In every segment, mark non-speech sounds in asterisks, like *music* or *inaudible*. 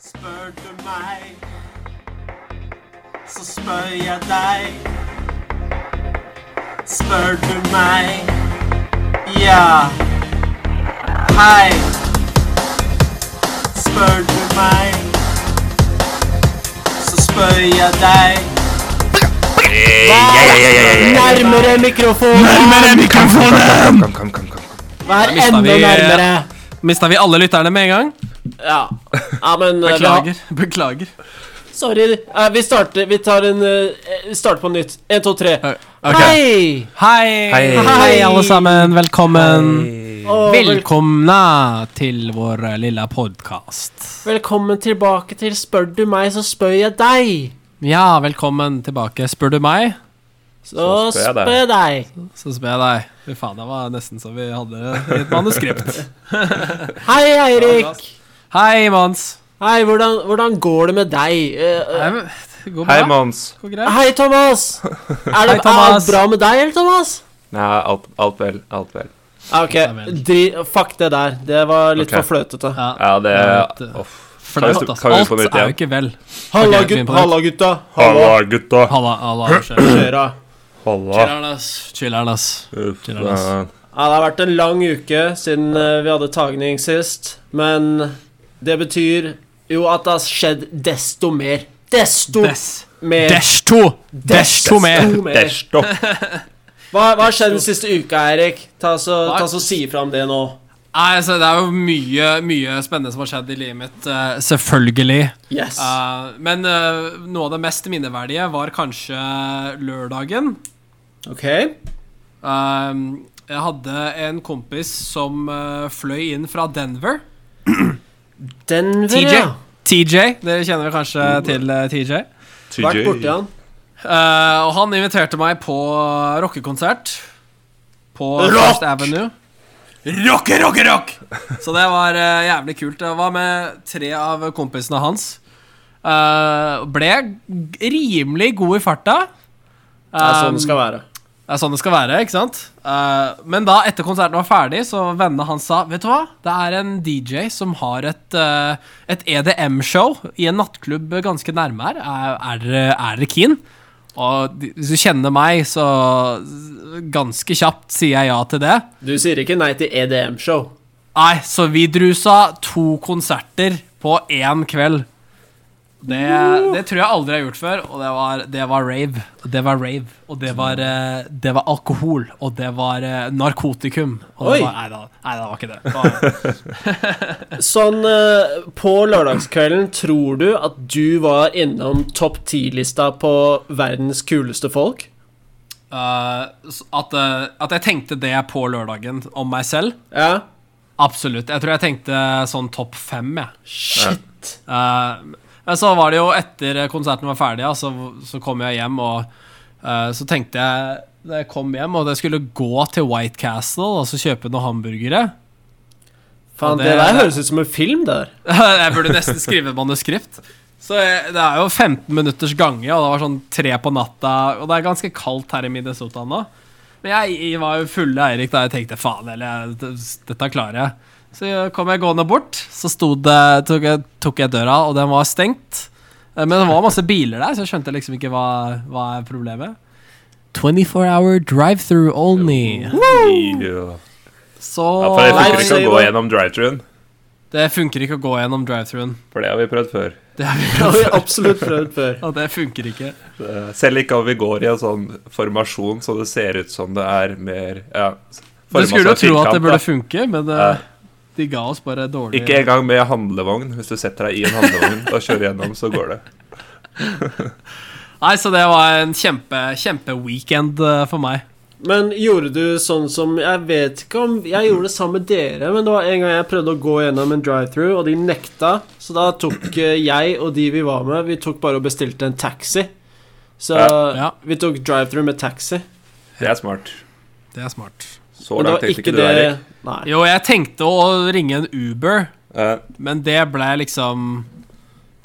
Spør du meg, så spør jeg deg. Spør du meg, ja. Hei. Spør du meg, så spør jeg deg. Nærmere mikrofonen! Nærmere mikrofonen! Kom, kom, kom, kom. Vær Mista enda vi- nærmere! Mista vi alle lytterne med en gang? Ja, ja men eh, vi har- Beklager. Beklager. Sorry. eh, Vi starter Vi tar en eh, Vi starter på nytt. En, to, tre. Ok. Hei! Hei. Hei. Hei, alle sammen. Velkommen. Og vel- Velkomna til vår lille podkast. velkommen tilbake til Spør du meg, så spør jeg deg. Ja, velkommen tilbake. Spør du meg, Så Så spør jeg deg. spør jeg deg. så spør jeg deg. Fy faen, det var nesten så vi hadde i et manuskript. Hei, Eirik. Hei, Mons. Hei, hvordan, hvordan går det med deg? Eh, eh, Det går Hei, bra. Mons. Går greit. Hei, Thomas. Er det Hei, er alt Thomas. bra med deg, eller, Thomas? Nei, alt, alt vel. Alt vel. Ja, Ok, Ja, vel. Dri, fuck det der. Det var litt Ok. for fløtete. Ja. Ja, det Jeg vet, Uff. Flaut, Kan vi- ass. kan vi få Alt nytt er jo igjen? ikke vel. Halla, Ok, gut, begynn på nytt. halla, gutta. Halla. Halla, gutta. Halla, halla. Chiller'n, Kjøra. Halla. ass. Chiller'n, ass. Uff, Chiller'n, ass. eh, Ja, det har vært en lang uke siden eh, vi hadde tagning sist, men det betyr jo at det har skjedd desto mer. Desto Des. mer. Dash 2. Dash 2 mer. Desto mer. Desto. Hva, hva har skjedd den siste uka, Eirik? Ta så, Hva? ta så si fra om det nå. Nei, altså, det er jo mye, mye spennende som har skjedd i livet mitt, eh, selvfølgelig. Yes. Eh, men eh, noe av det mest minneverdige var kanskje lørdagen. Ok. Eh, jeg hadde en kompis som eh, fløy inn fra Denver. Denver, TJ. ja. TJ. Dere kjenner vel kanskje til eh, TJ? Vært borti han. Eh, og han inviterte meg på rockekonsert på Rock! First Avenue. Rock, rock, rock! Så det var eh, jævlig kult. Jeg var med tre av kompisene hans. Eh, ble g- rimelig god i farta. Det er sånn det skal være. Det er sånn det skal være, ikke sant? Eh, men da, etter konserten var ferdig, så vennene hans sa Vet du hva? Det er en DJ som har et, eh, et EDM-show i en nattklubb ganske nærme her. Er, er, dere- er dere keen? Og de- hvis du kjenner meg, så ganske kjapt sier jeg ja til det. Du sier ikke nei til E EDM-show. Nei, så vi drusa to konserter på én kveld. Det, det tror jeg aldri jeg har gjort før, og det var, det var rave. Og det var rave, og det var, eh, det var alkohol, og det var eh, narkotikum. Og Oi. det var, nei, da, nei, det var ikke det. det. var- *laughs* Sånn eh, på lørdagskvelden, tror du at du var innom topp 10-lista på verdens kuleste folk? Eh, s- at, eh, at jeg tenkte det på lørdagen om meg selv. Ja. Absolutt. Jeg tror jeg tenkte sånn topp fem, jeg. Shit. Eh, Men så var det jo etter konserten var ferdig, ja, så, så kom jeg hjem, og eh, så tenkte jeg da jeg kom hjem, og jeg skulle gå til White Castle og så kjøpe noen hamburgere. Faen, Ja, det, det- der det- høres ut som en film, det der. *laughs* jeg burde nesten skrive et manuskript. Så jeg, det er jo 15 minutters gange, og det var sånn tre på natta, og det er ganske kaldt her i Minnesota nå. Men jeg, jeg var jo fulle Eirik da jeg tenkte faen, eller jeg- dette klarer jeg. Så kom jeg gående bort, så sto det, tok, jeg, tok jeg døra, og den var stengt. Eh, Men det var masse biler der, så jeg skjønte liksom ikke hva, hva er problemet. 24 hour drive-through only. Ja, Så for det funker Nei, ikke det å gå var- gjennom drive-thruen. det funker ikke å gå gjennom drive-throughen. For det har vi prøvd før. *laughs* Det har vi absolutt prøvd før. Og det funker ikke. Eh, Selv ikke om vi går i en sånn formasjon så det ser ut som det er mer ja, Du forma som en skulle jo tro at firkant, det burde da. funke, men det, Ja. de ga oss bare dårlig Ikke engang med handlevogn. Hvis du setter deg i en handlevogn og kjører gjennom, så går det. Nei, så det var en kjempe, kjempeweekend eh, for meg. Men gjorde du sånn som Jeg vet ikke om jeg gjorde det sammen med dere, men det var en gang jeg prøvde å gå gjennom en drive-through, og de nekta. Så da tok eh, jeg og de vi var med, vi tok bare og bestilte en taxi. Så Ja, ja. vi tok drive-through med taxi. Det er smart. Det er smart. Så Men det langt var tenkte ikke ikke du, det Erik. Nei. Jo, jeg tenkte å ringe en Uber, Eh, men det ble liksom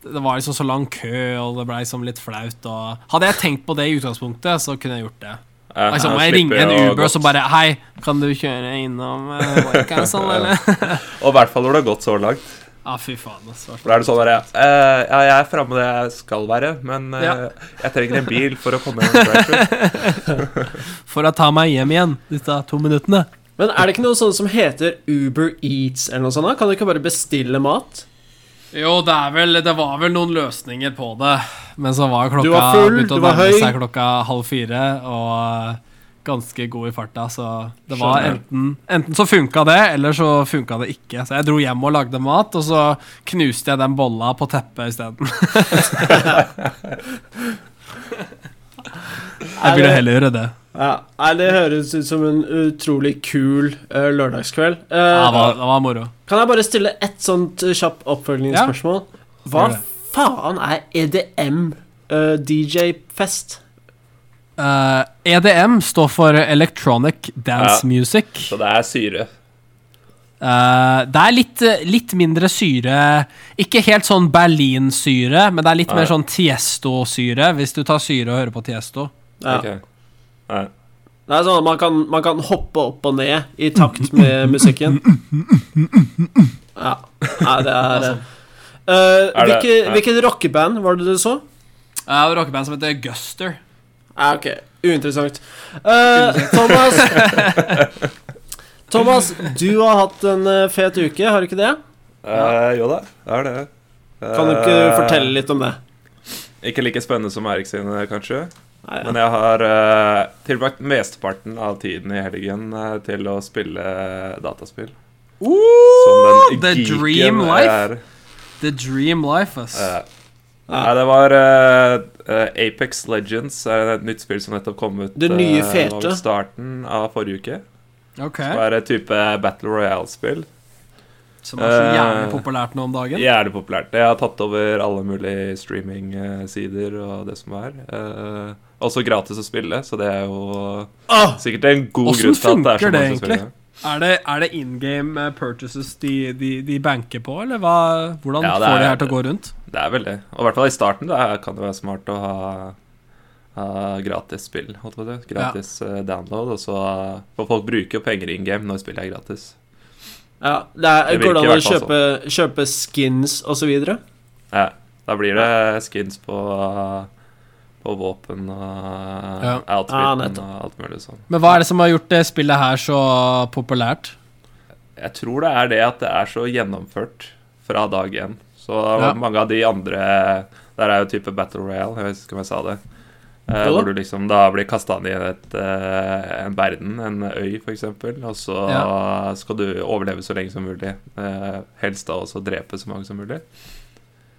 Det var liksom så lang kø, og det ble liksom litt flaut. Og hadde jeg tenkt på det i utgangspunktet, så kunne jeg gjort det. eh, Altså, her må jeg slipper ringe en å Uber og gått- så bare *laughs* Hei, kan du kjøre innom uh, White Castle, eller? *laughs* Og i hvert fall når det har gått så langt. Ja, fy faen. altså. ass, hva For da er det sånn der, eh, Ja, jeg er framme der jeg skal være, men eh, Ja. jeg trenger en bil for å komme gjennom drive-thru. For å ta meg hjem igjen, disse to minuttene. Men er det ikke noe sånt som heter Uber Eats eller noe sånt? da? Kan du ikke bare bestille mat? Jo, det, er vel, det var vel noen løsninger på det. Men så var klokka Du var full, begynte å du var nærme høy. seg klokka halv fire, og eh, ganske god i farta, så det var Skjønner. enten, enten så funka det, eller så funka det ikke. Så jeg dro hjem og lagde mat, og så knuste jeg den bolla på teppet isteden. jeg ville heller gjøre det. Ja, nei, Det høres ut som en utrolig kul eh, lørdagskveld. Eh, Ja, det, var, det var moro. Kan jeg bare stille ett sånt eh, kjapt oppfølgingsspørsmål? Hva Gjør det. faen er EDM eh, DJ-fest? Eh, EDM står for Electronic Dance Ja. Music. Så det er syre. Eh, det er litt, litt mindre syre Ikke helt sånn Berlin-syre, men det er litt Nei. mer sånn Tiesto-syre, hvis du tar syre og hører på Tiesto. Ja. Ok. Eh, Det er sånn at man kan, man kan hoppe opp og ned i takt *laughs* med musikken. Ja. Nei, det er Altså. eh, eh, Er det- hvilke, ja. Hvilket rockeband var det du så? Jeg har et rockeband som heter Guster. Ja, ok. Uinteressant. Eh, Thomas *laughs* Thomas, du har hatt en eh, fet uke, har du ikke det? Eh, jo da, det er det. Kan du ikke Eh, fortelle litt om det? Ikke like spennende som Erik sine, kanskje. Nei, ja. Men jeg har eh, tilbrakt mesteparten av tiden i helgen eh, til å spille dataspill. Som den the geeken dream jeg life. er. The Dream Life, ass. Eh, Nei, det var eh, Apex Legends, eh, et nytt spill som nettopp kom ut. Det nye eh, fete. nå i starten av forrige uke. ok. Det var et type Battle Royale-spill. Som er så jævlig eh, populært nå om dagen. Jævlig populært. Det har tatt over alle mulige streaming-sider og det som er. Eh, også gratis å spille, så det er jo Åh! sikkert en god Hvordan grunn til at det er funker så mange det som egentlig? spiller. Er det, er det in game eh, purchases de, de, de banker på, eller hva, hvordan Ja, det får de er- her til å gå rundt? Det er vel det. Og i hvert fall i starten da, kan det være smart å ha, ha gratis spill. Holdt på det. Gratis eh, download. Og så eh, får folk bruke penger in game når spillet er gratis. Ja, det er, Det virker går det an i å hvert fall sånn. kjøpe, kjøpe skins og så videre? Ja, da blir det skins på, eh, på våpen og Ja. ja. Ja, outfiten Ah, nettopp. og alt mulig sånn. Men hva er det som har gjort det spillet her så populært? Jeg tror det er det at det er så gjennomført fra dag én. Så Ja. mange av de andre Der er jo type Battle Royale, jeg husker om jeg sa det. Eh, Jo da. hvor du liksom da blir kasta ned i et, eh, en verden, en øy f.eks., og så skal du overleve så lenge som mulig. Eh, helst da også drepe så mange som *laughs* mulig.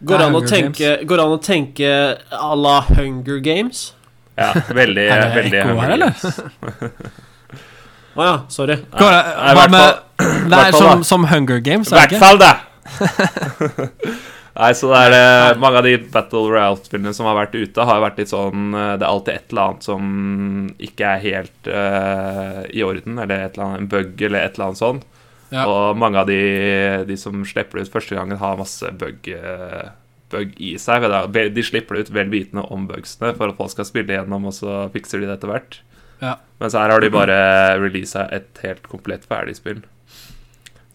Går det an å Hunger tenke, går det an å tenke à la Hunger Games? Ja, veldig, Er det veldig ekko her, eller? Å ja, sorry. Går det, Nei, i hva hvert med Det hvert er fall som, da. som Hunger Games, I er det hvert ikke? fall, da! *laughs* Nei, så det er eh, mange av de Battle Royale-spillene som har vært ute, har vært litt sånn eh, Det er alltid et eller annet som ikke er helt eh, i orden, eller et eller annet, en bug eller et eller annet sånn. Ja. Og mange av de, de som slipper det ut første gangen, har masse bug, eh, bug i seg. men det er- De slipper det ut vel vitende om bugsene for at folk skal spille gjennom, og så fikser de det etter hvert. Ja. Mens her har de bare releasa et helt komplett ferdig spill.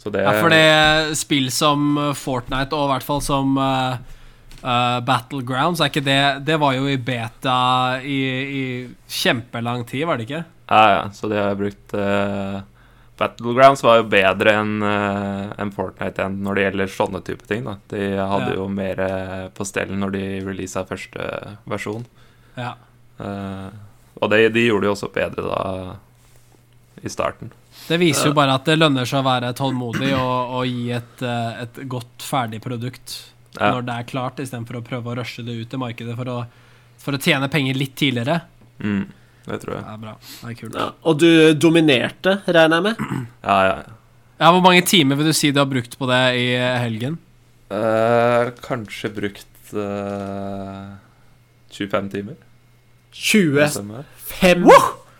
Så det Ja, for det spill som eh, Fortnite, og i hvert fall som eh, eh, Battlegrounds, er ikke det Det var jo i beta i, i kjempelang tid, var det ikke? Ja, ja, så de har brukt eh, Battlegrounds var jo bedre enn eh, enn Fortnite enn når det gjelder sånne type ting. da. De hadde Ja. jo mer eh, på stell når de releasa første versjon. Ja. Eh, og de, de gjorde det jo også bedre da i starten. Det viser jo bare at det lønner seg å være tålmodig og, og gi et, eh, et godt ferdig produkt Ja. når det er klart, istedenfor å prøve å rushe det ut i markedet for å, for å tjene penger litt tidligere. Mm, det tror jeg. Det er bra. Det er kult. Ja, og du dominerte, regner jeg med? Ja, ja. ja. Ja, Hvor mange timer vil du si du har brukt på det i helgen? Eh, kanskje brukt eh, 25 timer. kan 25 det stemme?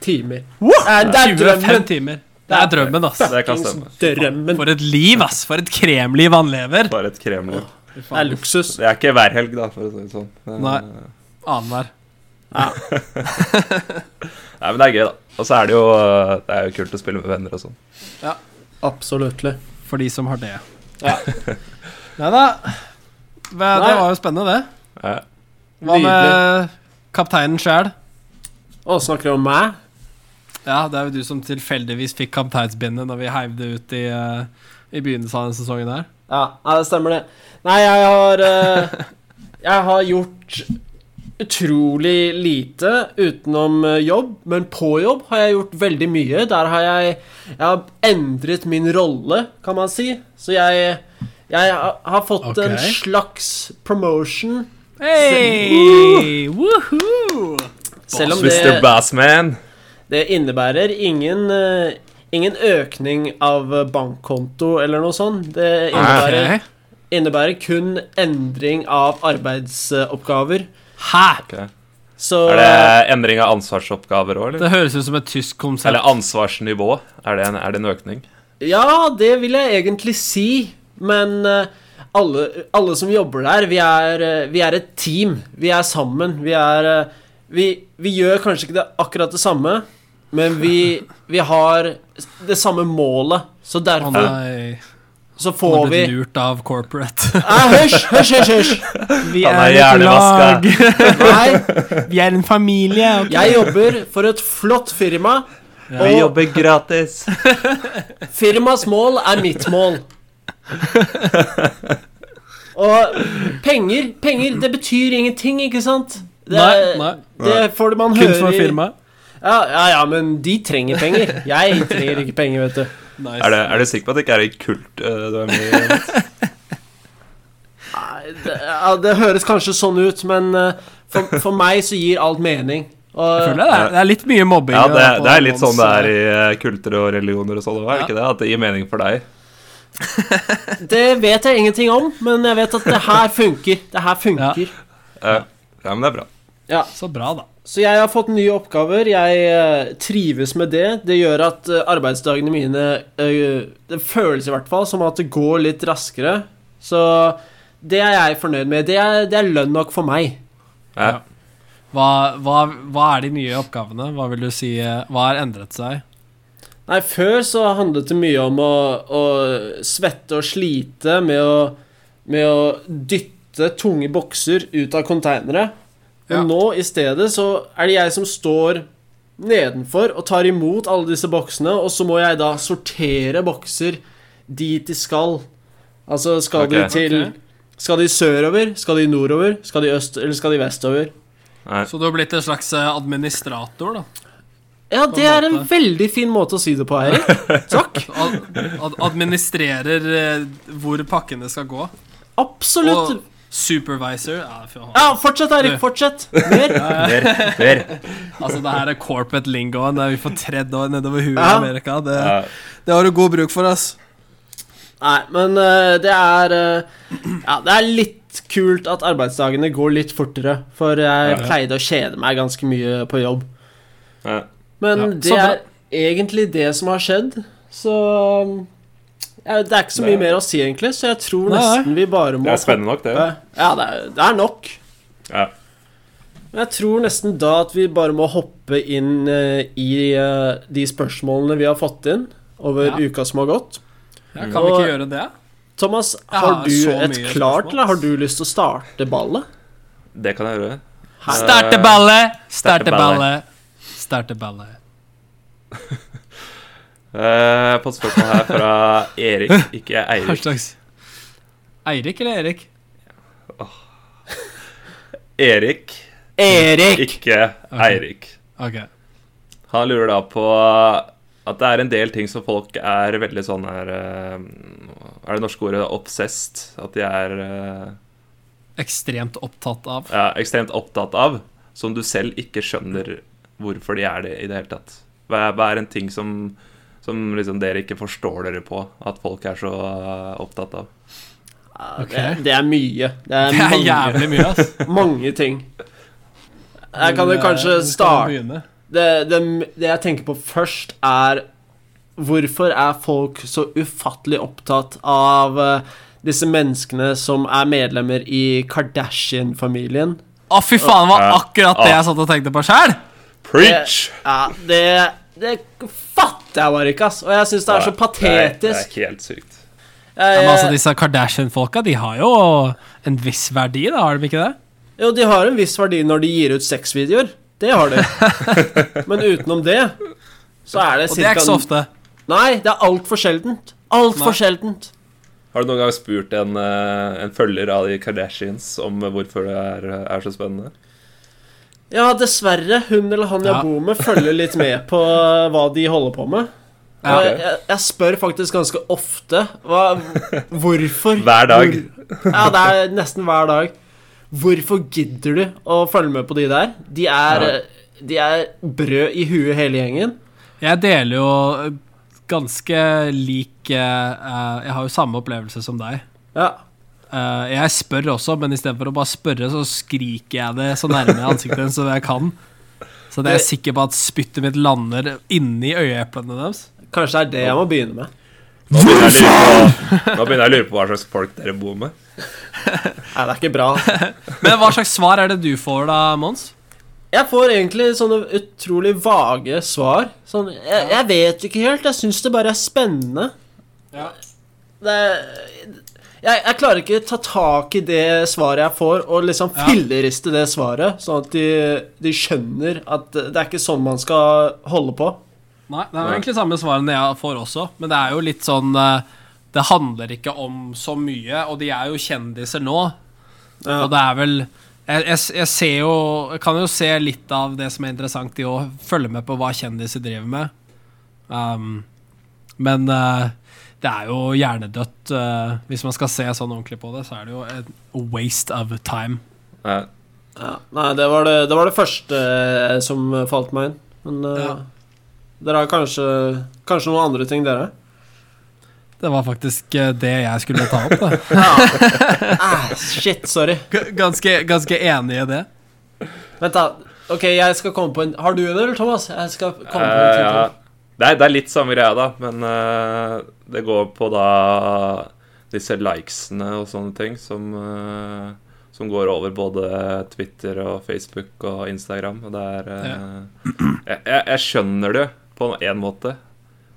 timer. Nei, det er drømmen! timer. Det er drømmen, ass. Det kan stemme. Drømmen. For et liv, ass. For et kremliv han lever. Bare et kremløp. Det er luksus. Det er ikke hver helg, da, for å si det sånn. Men, Nei. eh, Annenhver. Nei, men det er gøy, da. Og så er det jo eh, Det er jo kult å spille med venner og sånn. Absolutt. *laughs* For de som har det. Nei da. Men Det Nei. var jo spennende, det. Ja. Hva med kapteinen sjæl? Å, snakker du om meg? Ja, det er jo du som tilfeldigvis fikk kapteinsbindet når vi heiv det ut i, eh, i begynnelsen av den sesongen her. Ja, ja det stemmer det. Nei, jeg har eh, Jeg har gjort utrolig lite utenom eh, jobb, men på jobb har jeg gjort veldig mye. Der har jeg Jeg har endret min rolle, kan man si. Så jeg jeg har har fått Ok. en slags promotion, Hei! Woohoo! selv om det, Mr. Bassman. det innebærer ingen eh, Ingen økning av eh, bankkonto eller noe sånt. Det innebærer Ok. innebærer kun endring av arbeidsoppgaver. Hæ? Ok. Så Er det endring av ansvarsoppgaver òg, eller? Det høres ut som et tysk konsept. Eller ansvarsnivå? Er det en, er det en økning? Ja, det vil jeg egentlig si, men eh, alle, alle som jobber der, vi er, eh, vi er et team. Vi er sammen. Vi er eh, Vi, vi gjør kanskje ikke det akkurat det samme, men vi, vi har det samme målet. Så Å derfor nei. så Han får er vi blitt lurt av corporate. Nei, Hysj, hysj, hysj! *laughs* hysj. Vi Han er er et hjernevaska. *laughs* Nei, Vi er en familie. jeg jobber for et flott firma. Vi jobber gratis. Firmas mål er mitt mål. Og penger, penger, det betyr ingenting, ikke sant? Det, Nei, nei. det får det man Kun høre for i- firmaet. Ja, ja, ja, men de trenger penger. Jeg trenger ikke penger, vet du. Nice. Er, det, er du sikker på at det ikke er en kult eh, du er med i? Jonas? Nei, Det, ja, det høres kanskje sånn ut, men eh, for, for meg så gir alt mening. Jeg Og, føler det, er, det er litt mye *laughs* mobbing. Ja, det, på det er litt sånn det er Mons, i eh, kulter og religioner og sånn, er det ikke det? At det gir mening for deg. det vet jeg ingenting om, men jeg vet at det her funker. Det her funker. Eh, Ja, men det er bra. Så bra, da. Så jeg har fått nye oppgaver. Jeg eh, trives med det. Det gjør at eh, arbeidsdagene mine eh, Det føles i hvert fall som at det går litt raskere. Så det er jeg fornøyd med. Det er, det er lønn nok for meg. Ja. Ja. Hva, hva, hva er de nye oppgavene? Hva vil du si eh, Hva har endret seg? Nei, før så handlet det mye om å, å svette og slite med å, med å dytte tunge bokser ut av konteinere. Men Ja. nå i stedet så er det jeg som står nedenfor og tar imot alle disse boksene, og så må jeg da sortere bokser dit de skal. Altså, skal Ok. de til Ok. Skal de sørover? Skal de nordover? Skal de øst, eller skal de vestover? Nei. Så du har blitt en slags eh, administrator, da? Ja, På en det er en måte. veldig fin måte å si det på, Eirik. *laughs* Takk. Ad, ad, administrerer eh, hvor pakkene skal gå? Absolutt. Og supervisor ja, fy faen. Ja, fortsett, Erik. Fortsett. Mer. Mer, mer. Altså, det her er corporate lingoen der vi får tredd år nedover huet i Ja. Amerika. Det, *laughs* Ja. det har du god bruk for, ass. *laughs* Nei, men eh, det er eh, Ja, det er litt kult at arbeidsdagene går litt fortere, for jeg Ja, ja. pleide å kjede meg ganske mye på jobb. Ja. Men Ja, det så bra. er egentlig det som har skjedd, så um, ja, Det er ikke så mye Det- mer å si, egentlig, så jeg tror Nei, nei. nesten vi bare må Det er spennende nok, det. hoppe- Ja, det er, det er nok. Ja. Men jeg tror nesten da at vi bare må hoppe inn eh, i eh, de spørsmålene vi har fått inn over Ja. uka som har gått. Ja, kan vi Og- ikke gjøre det? Thomas, Jeg har har du så et mye klart, spørsmål. eller har du lyst til å starte ballet? Det kan jeg gjøre. Her. Starte ballet! Starte Starte ballet. ballet! Starte ballet. Eh, på et spørsmål her fra Erik, ikke Hva Eirik. slags Eirik eller Erik? Erik, Erik! ikke Eirik. Ok. Han lurer da på at det er en del ting som folk er veldig sånn her eh, Er det norske ordet obsessed? At de er eh, Ekstremt opptatt av. ja, ekstremt opptatt av, som du selv ikke skjønner hvorfor de er det i det hele tatt. Hva er, hva er en ting som, som liksom dere ikke forstår dere på at folk er så eh, opptatt av? Ja, Ok. Det, det er mye. Det er, Det er mange, jævlig mye, ass. mange ting. *laughs* Jeg kan jo Men, kanskje eh, hvor skal vi starte begynne? det, det, det jeg tenker på først, er hvorfor er folk så ufattelig opptatt av eh, disse menneskene som er medlemmer i Kardashian-familien? Å, fy faen, det var Ja. akkurat det jeg satt og tenkte på sjæl! Preach! Ja, det, det fatter jeg bare ikke, ass. Og jeg syns det er så Nei, det er- patetisk. eh, Det er helt sykt. Jeg, Men altså, jeg, disse Kardashian-folka, de har jo en viss verdi, da, har de ikke det? jo, de har en viss verdi når de gir ut sexvideoer. Det har de. *laughs* Men utenom det så er det Og det er ikke så ofte. Nei, det er altfor sjeldent. Altfor sjeldent. Har du noen gang spurt en, eh, en følger av de Kardashians om hvorfor det er, er så spennende? Ja, dessverre. Hun eller han jeg Ja. bor med, følger litt *laughs* med på eh, hva de holder på med. Ja. Og jeg, jeg spør faktisk ganske ofte hva, hvorfor *laughs* Hver dag. Hvor, ja, det er nesten hver dag. Hvorfor gidder du å følge med på de der? De er, eh, Ja. de er brød i huet, hele gjengen. Jeg deler jo ganske lik eh, eh, Jeg har jo samme opplevelse som deg. Ja. Eh, jeg spør også, men istedenfor å bare spørre, så skriker jeg det så nærme ansiktet som jeg kan. Så jeg er sikker på at spyttet mitt lander inni øyeeplene deres. Kanskje det er det jeg må begynne med. Nå begynner jeg å lure på, nå begynner jeg å lure på hva slags folk dere bor med. Nei, det er ikke *laughs* bra. Men hva slags svar er det du får da, Mons? Jeg får egentlig sånne utrolig vage svar. Sånn, jeg, jeg vet ikke helt. Jeg syns det bare er spennende. Ja. Det, jeg, jeg klarer ikke ta tak i det svaret jeg får, og liksom Ja. filleriste det svaret, sånn at de, de skjønner at det er ikke sånn man skal holde på. Nei, det er jo egentlig samme svarene jeg får også, men det er jo litt sånn eh, Det handler ikke om så mye, og de er jo kjendiser nå, og det er vel jeg, jeg, jeg ser jo Jeg kan jo se litt av det som er interessant i å følge med på hva kjendiser driver med. Um, men eh, det er jo hjernedødt. eh, hvis man skal se sånn ordentlig på det, så er det jo en waste of time. Eh, Ja, nei, det var det, det var det første eh, som falt meg inn. Men eh, Ja. dere har kanskje, kanskje noen andre ting, dere? Det var faktisk eh, det jeg skulle ta opp. Da. *laughs* Ah, shit, sorry. G- Ganske, ganske enig i det. Vent, da. Ok, jeg skal komme på en Har du en, eller Thomas? Jeg skal komme på en Eh, ting. ja. til. det, er, det er litt samme greia, da, men eh, det går på da disse likesene og sånne ting som, eh, som går over både Twitter og Facebook og Instagram. Og det er eh, jeg, jeg, jeg skjønner det på én måte,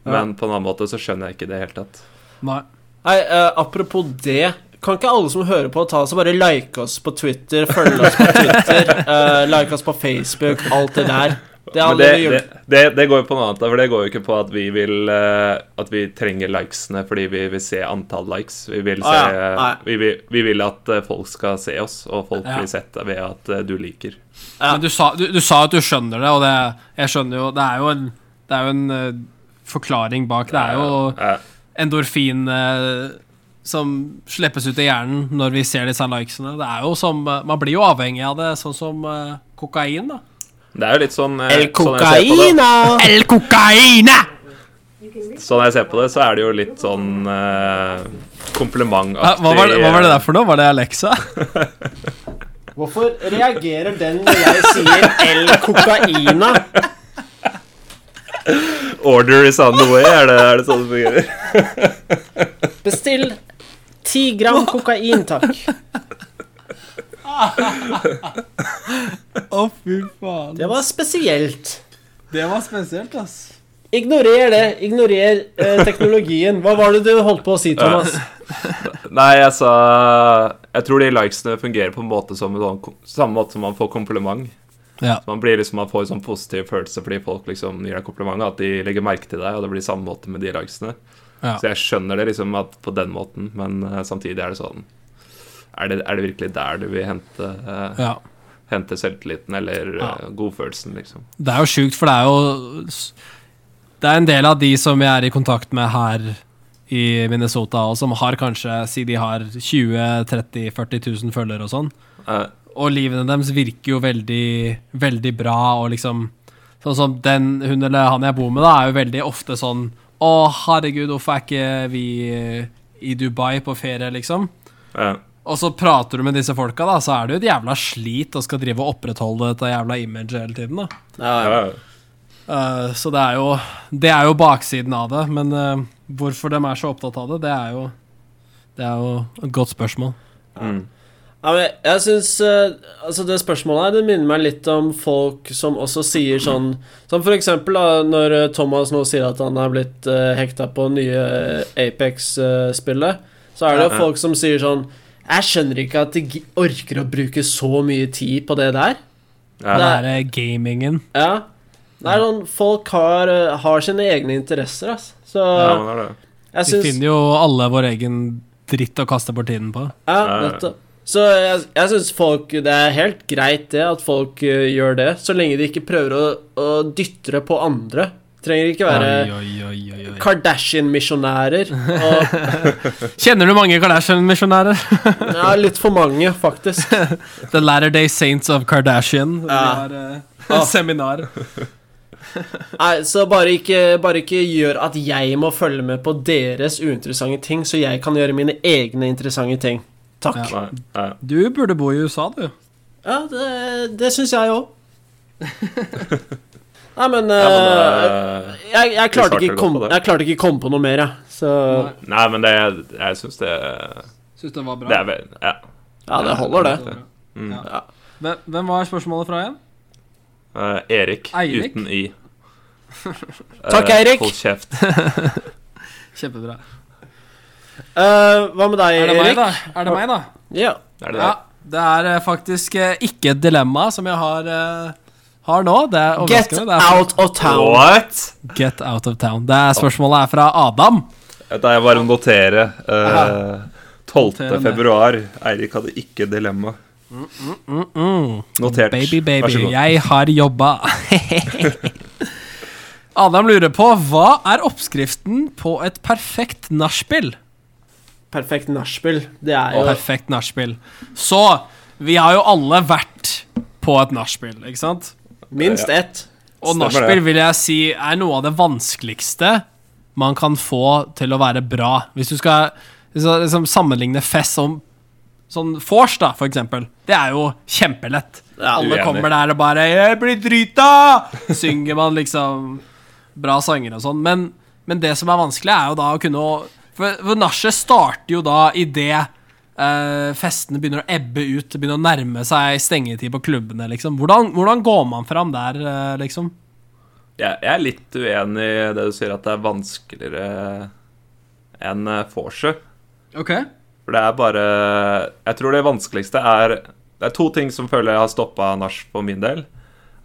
men på en annen måte så skjønner jeg ikke det i det hele tatt. Nei. Nei, eh, apropos det. Kan ikke alle som hører på, ta oss og bare like oss på Twitter, følge oss på *laughs* Twitter, eh, like oss på Facebook, alt det der. Det Men hadde det, vi det, gjort. det, det går jo på noe annet, da, for det går jo ikke på at vi vil eh, At vi trenger likesene fordi vi vil se antall likes. Vi vil, Å, Ah, se, ja. Nei. vi, vil, vi vil at eh, folk skal se oss, og folk Ja. blir sett ved at eh, du liker. Ja. Men du sa, du, du sa at du skjønner det, og det, jeg skjønner jo Det er jo en, det er jo en eh, forklaring bak. Det er jo Eh, endorfin eh, som slippes ut i hjernen når vi ser disse likesene. Det er jo som eh, Man blir jo avhengig av det, sånn som eh, kokain, da. det er jo litt sånn eh, El sånn jeg, ser på det, cocaina! El cocaine! sånn jeg ser på det, så er det jo litt sånn eh, Hva komplimentaktig. var, det- hva var det der for noe? Var det Alexa? *laughs* Hvorfor reagerer den når jeg sier el cocaina? eh, Order is on the way, er det, er det sånn det fungerer? *laughs* Bestill ti gram kokain, takk. *laughs* Å, fy faen. Det var spesielt. Det var spesielt, ass. Ignorer det. Ignorer eh, teknologien. Hva var det du holdt på å si, Thomas? Nei, jeg sa Jeg tror de likesene fungerer på en måte som en sånn, ko- samme måte som man får kompliment. Ja. Man blir liksom, man får en sånn positiv følelse fordi folk liksom gir deg komplimenter, at de legger merke til deg, og det blir samme måte med de likesene. Ja. Så jeg skjønner det liksom at på den måten, men eh, samtidig er det sånn er det, er det virkelig der du vil hente, eh, ja. hente selvtilliten eller Ja. eh, godfølelsen, liksom? Det er jo sjukt, for det er jo Det er en del av de som jeg er i kontakt med her i Minnesota, og som har kanskje Si de har 20 30 40 000 følgere og sånn. Eh, Og livene deres virker jo veldig, veldig bra, og liksom Sånn som den hun eller han jeg bor med, da, er jo veldig ofte sånn Å, herregud, hvorfor er ikke vi i Dubai på ferie, liksom? eh, Og så prater du med disse folka, da, så er det jo et jævla slit å skal drive og opprettholde dette jævla imaget hele tiden, da. Ja, ja, Eh, så det er jo Det er jo baksiden av det, men eh, hvorfor de er så opptatt av det, det er jo Det er jo et godt spørsmål. mm. Ja, men jeg- jeg synes, eh, altså Det spørsmålet her det minner meg litt om folk som også sier sånn Som for eksempel da, når eh, Thomas nå sier at han er blitt eh, hekta på nye eh, Apex-spillet, så er det Ja, jo ja. folk som sier sånn Jeg skjønner ikke at de gi- orker å bruke så mye tid på det der. Ja. Nei. Den der eh, gamingen. Ja. Det er sånn, Folk har, eh, har sine egne interesser, altså. Så Ja, men det er det. jeg Vi syns finner jo alle vår egen dritt å kaste bort tiden på. Ja, Ja, ja. nettopp. Så jeg, jeg syns folk Det er helt greit det at folk eh, gjør det, så lenge de ikke prøver å, å dytte det på andre. Trenger ikke være Oi, oi, oi, oi, oi. Kardashian-misjonærer. Og Kjenner du mange Kardashian-misjonærer? ja, litt for mange, faktisk. The Latter Day Saints of Kardashian. Vi Ja. har eh, Ah. seminar. Nei, så bare ikke, bare ikke gjør at jeg må følge med på deres uinteressante ting, så jeg kan gjøre mine egne interessante ting. Takk. Nei, nei. Du burde bo i USA, du. Ja, det, det syns jeg òg. Nei, men, Ja, eh, men det- jeg, jeg, klarte svarte ikke godt kom, på det. jeg klarte ikke komme på noe mer, jeg. Så Nei, men det, jeg syns det, Syns det var det er vel Ja. ja, det holder, det. Mm. Ja. Hvem, hvem var spørsmålet fra igjen? Eh, Erik, Eirik? uten *laughs* i. Takk, Eh, Eirik. Hold kjeft. Kjempebra. Eh, hva med deg, Er det meg, Erik? da? Er det meg, da? Ja. Er det Ja, det er eh, faktisk eh, ikke et dilemma som jeg har, eh, har nå. Det er Get overraskende. Det er fra- out of det? town. What? Get out of town. Det er spørsmålet er fra Adam. Da jeg bare notere. Eh, 12. Noterende. februar. Eirik hadde ikke dilemma. Mm -mm. Notert. Baby, Vær så baby, god. jeg har jobba. *laughs* Adam lurer på hva er oppskriften på et perfekt nachspiel? Perfekt nachspiel. Det er jo Perfekt nachspiel. Så vi har jo alle vært på et nachspiel, ikke sant? minst ett. Og Stemmer nachspiel det. vil jeg si er noe av det vanskeligste man kan få til å være bra. Hvis du skal hvis du skal liksom sammenligne fest som sånn vors, da, for eksempel. Det er jo kjempelett. Ja, Alle uenig. kommer der og bare 'Jeg blir drita!' Synger man liksom bra sanger og sånn. Men, men det som er vanskelig, er jo da å kunne å For, for nachet starter jo da idet uh, festene begynner å ebbe ut, det begynner å nærme seg stengetid på klubbene, liksom. Hvordan, hvordan går man fram der, eh, liksom? Jeg, jeg er litt uenig i det du sier, at det er vanskeligere enn eh, vorset. Ok For det er bare Jeg tror det vanskeligste er Det er to ting som føler jeg har stoppa nach for min del.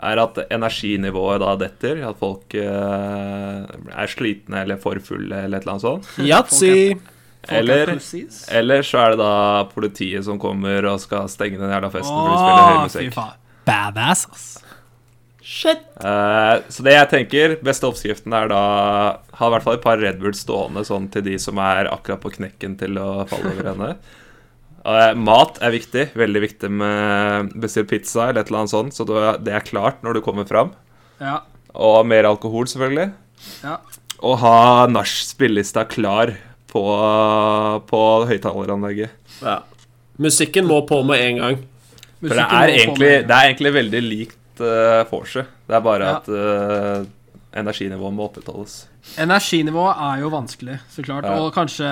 Er at energinivået da detter. At folk eh, er slitne eller for fulle eller et eller annet sånt. Yatzy. Eller, eller så er det da politiet som kommer og skal stenge den jævla festen for de spiller høy fy musikk. faen. Badass, ass. Shit. Eh, så det jeg tenker, beste oppskriften er da ha i hvert fall et par Red Bull stående sånn til de som er akkurat på knekken til å falle over ende. Eh, mat er viktig. Veldig viktig med bestill pizza eller et eller annet sånt, så du- det er klart når du kommer fram. Ja, Og mer alkohol, selvfølgelig. ja. Og ha nach-spillelista klar på, på høyttaleranlegget. Ja. Musikken må på med en gang. For det er, egentlig, det er egentlig veldig likt uh, vorset. Det er bare Ja. at eh, energinivået må opprettholdes. Energinivået er jo vanskelig, så klart. Ja. Og kanskje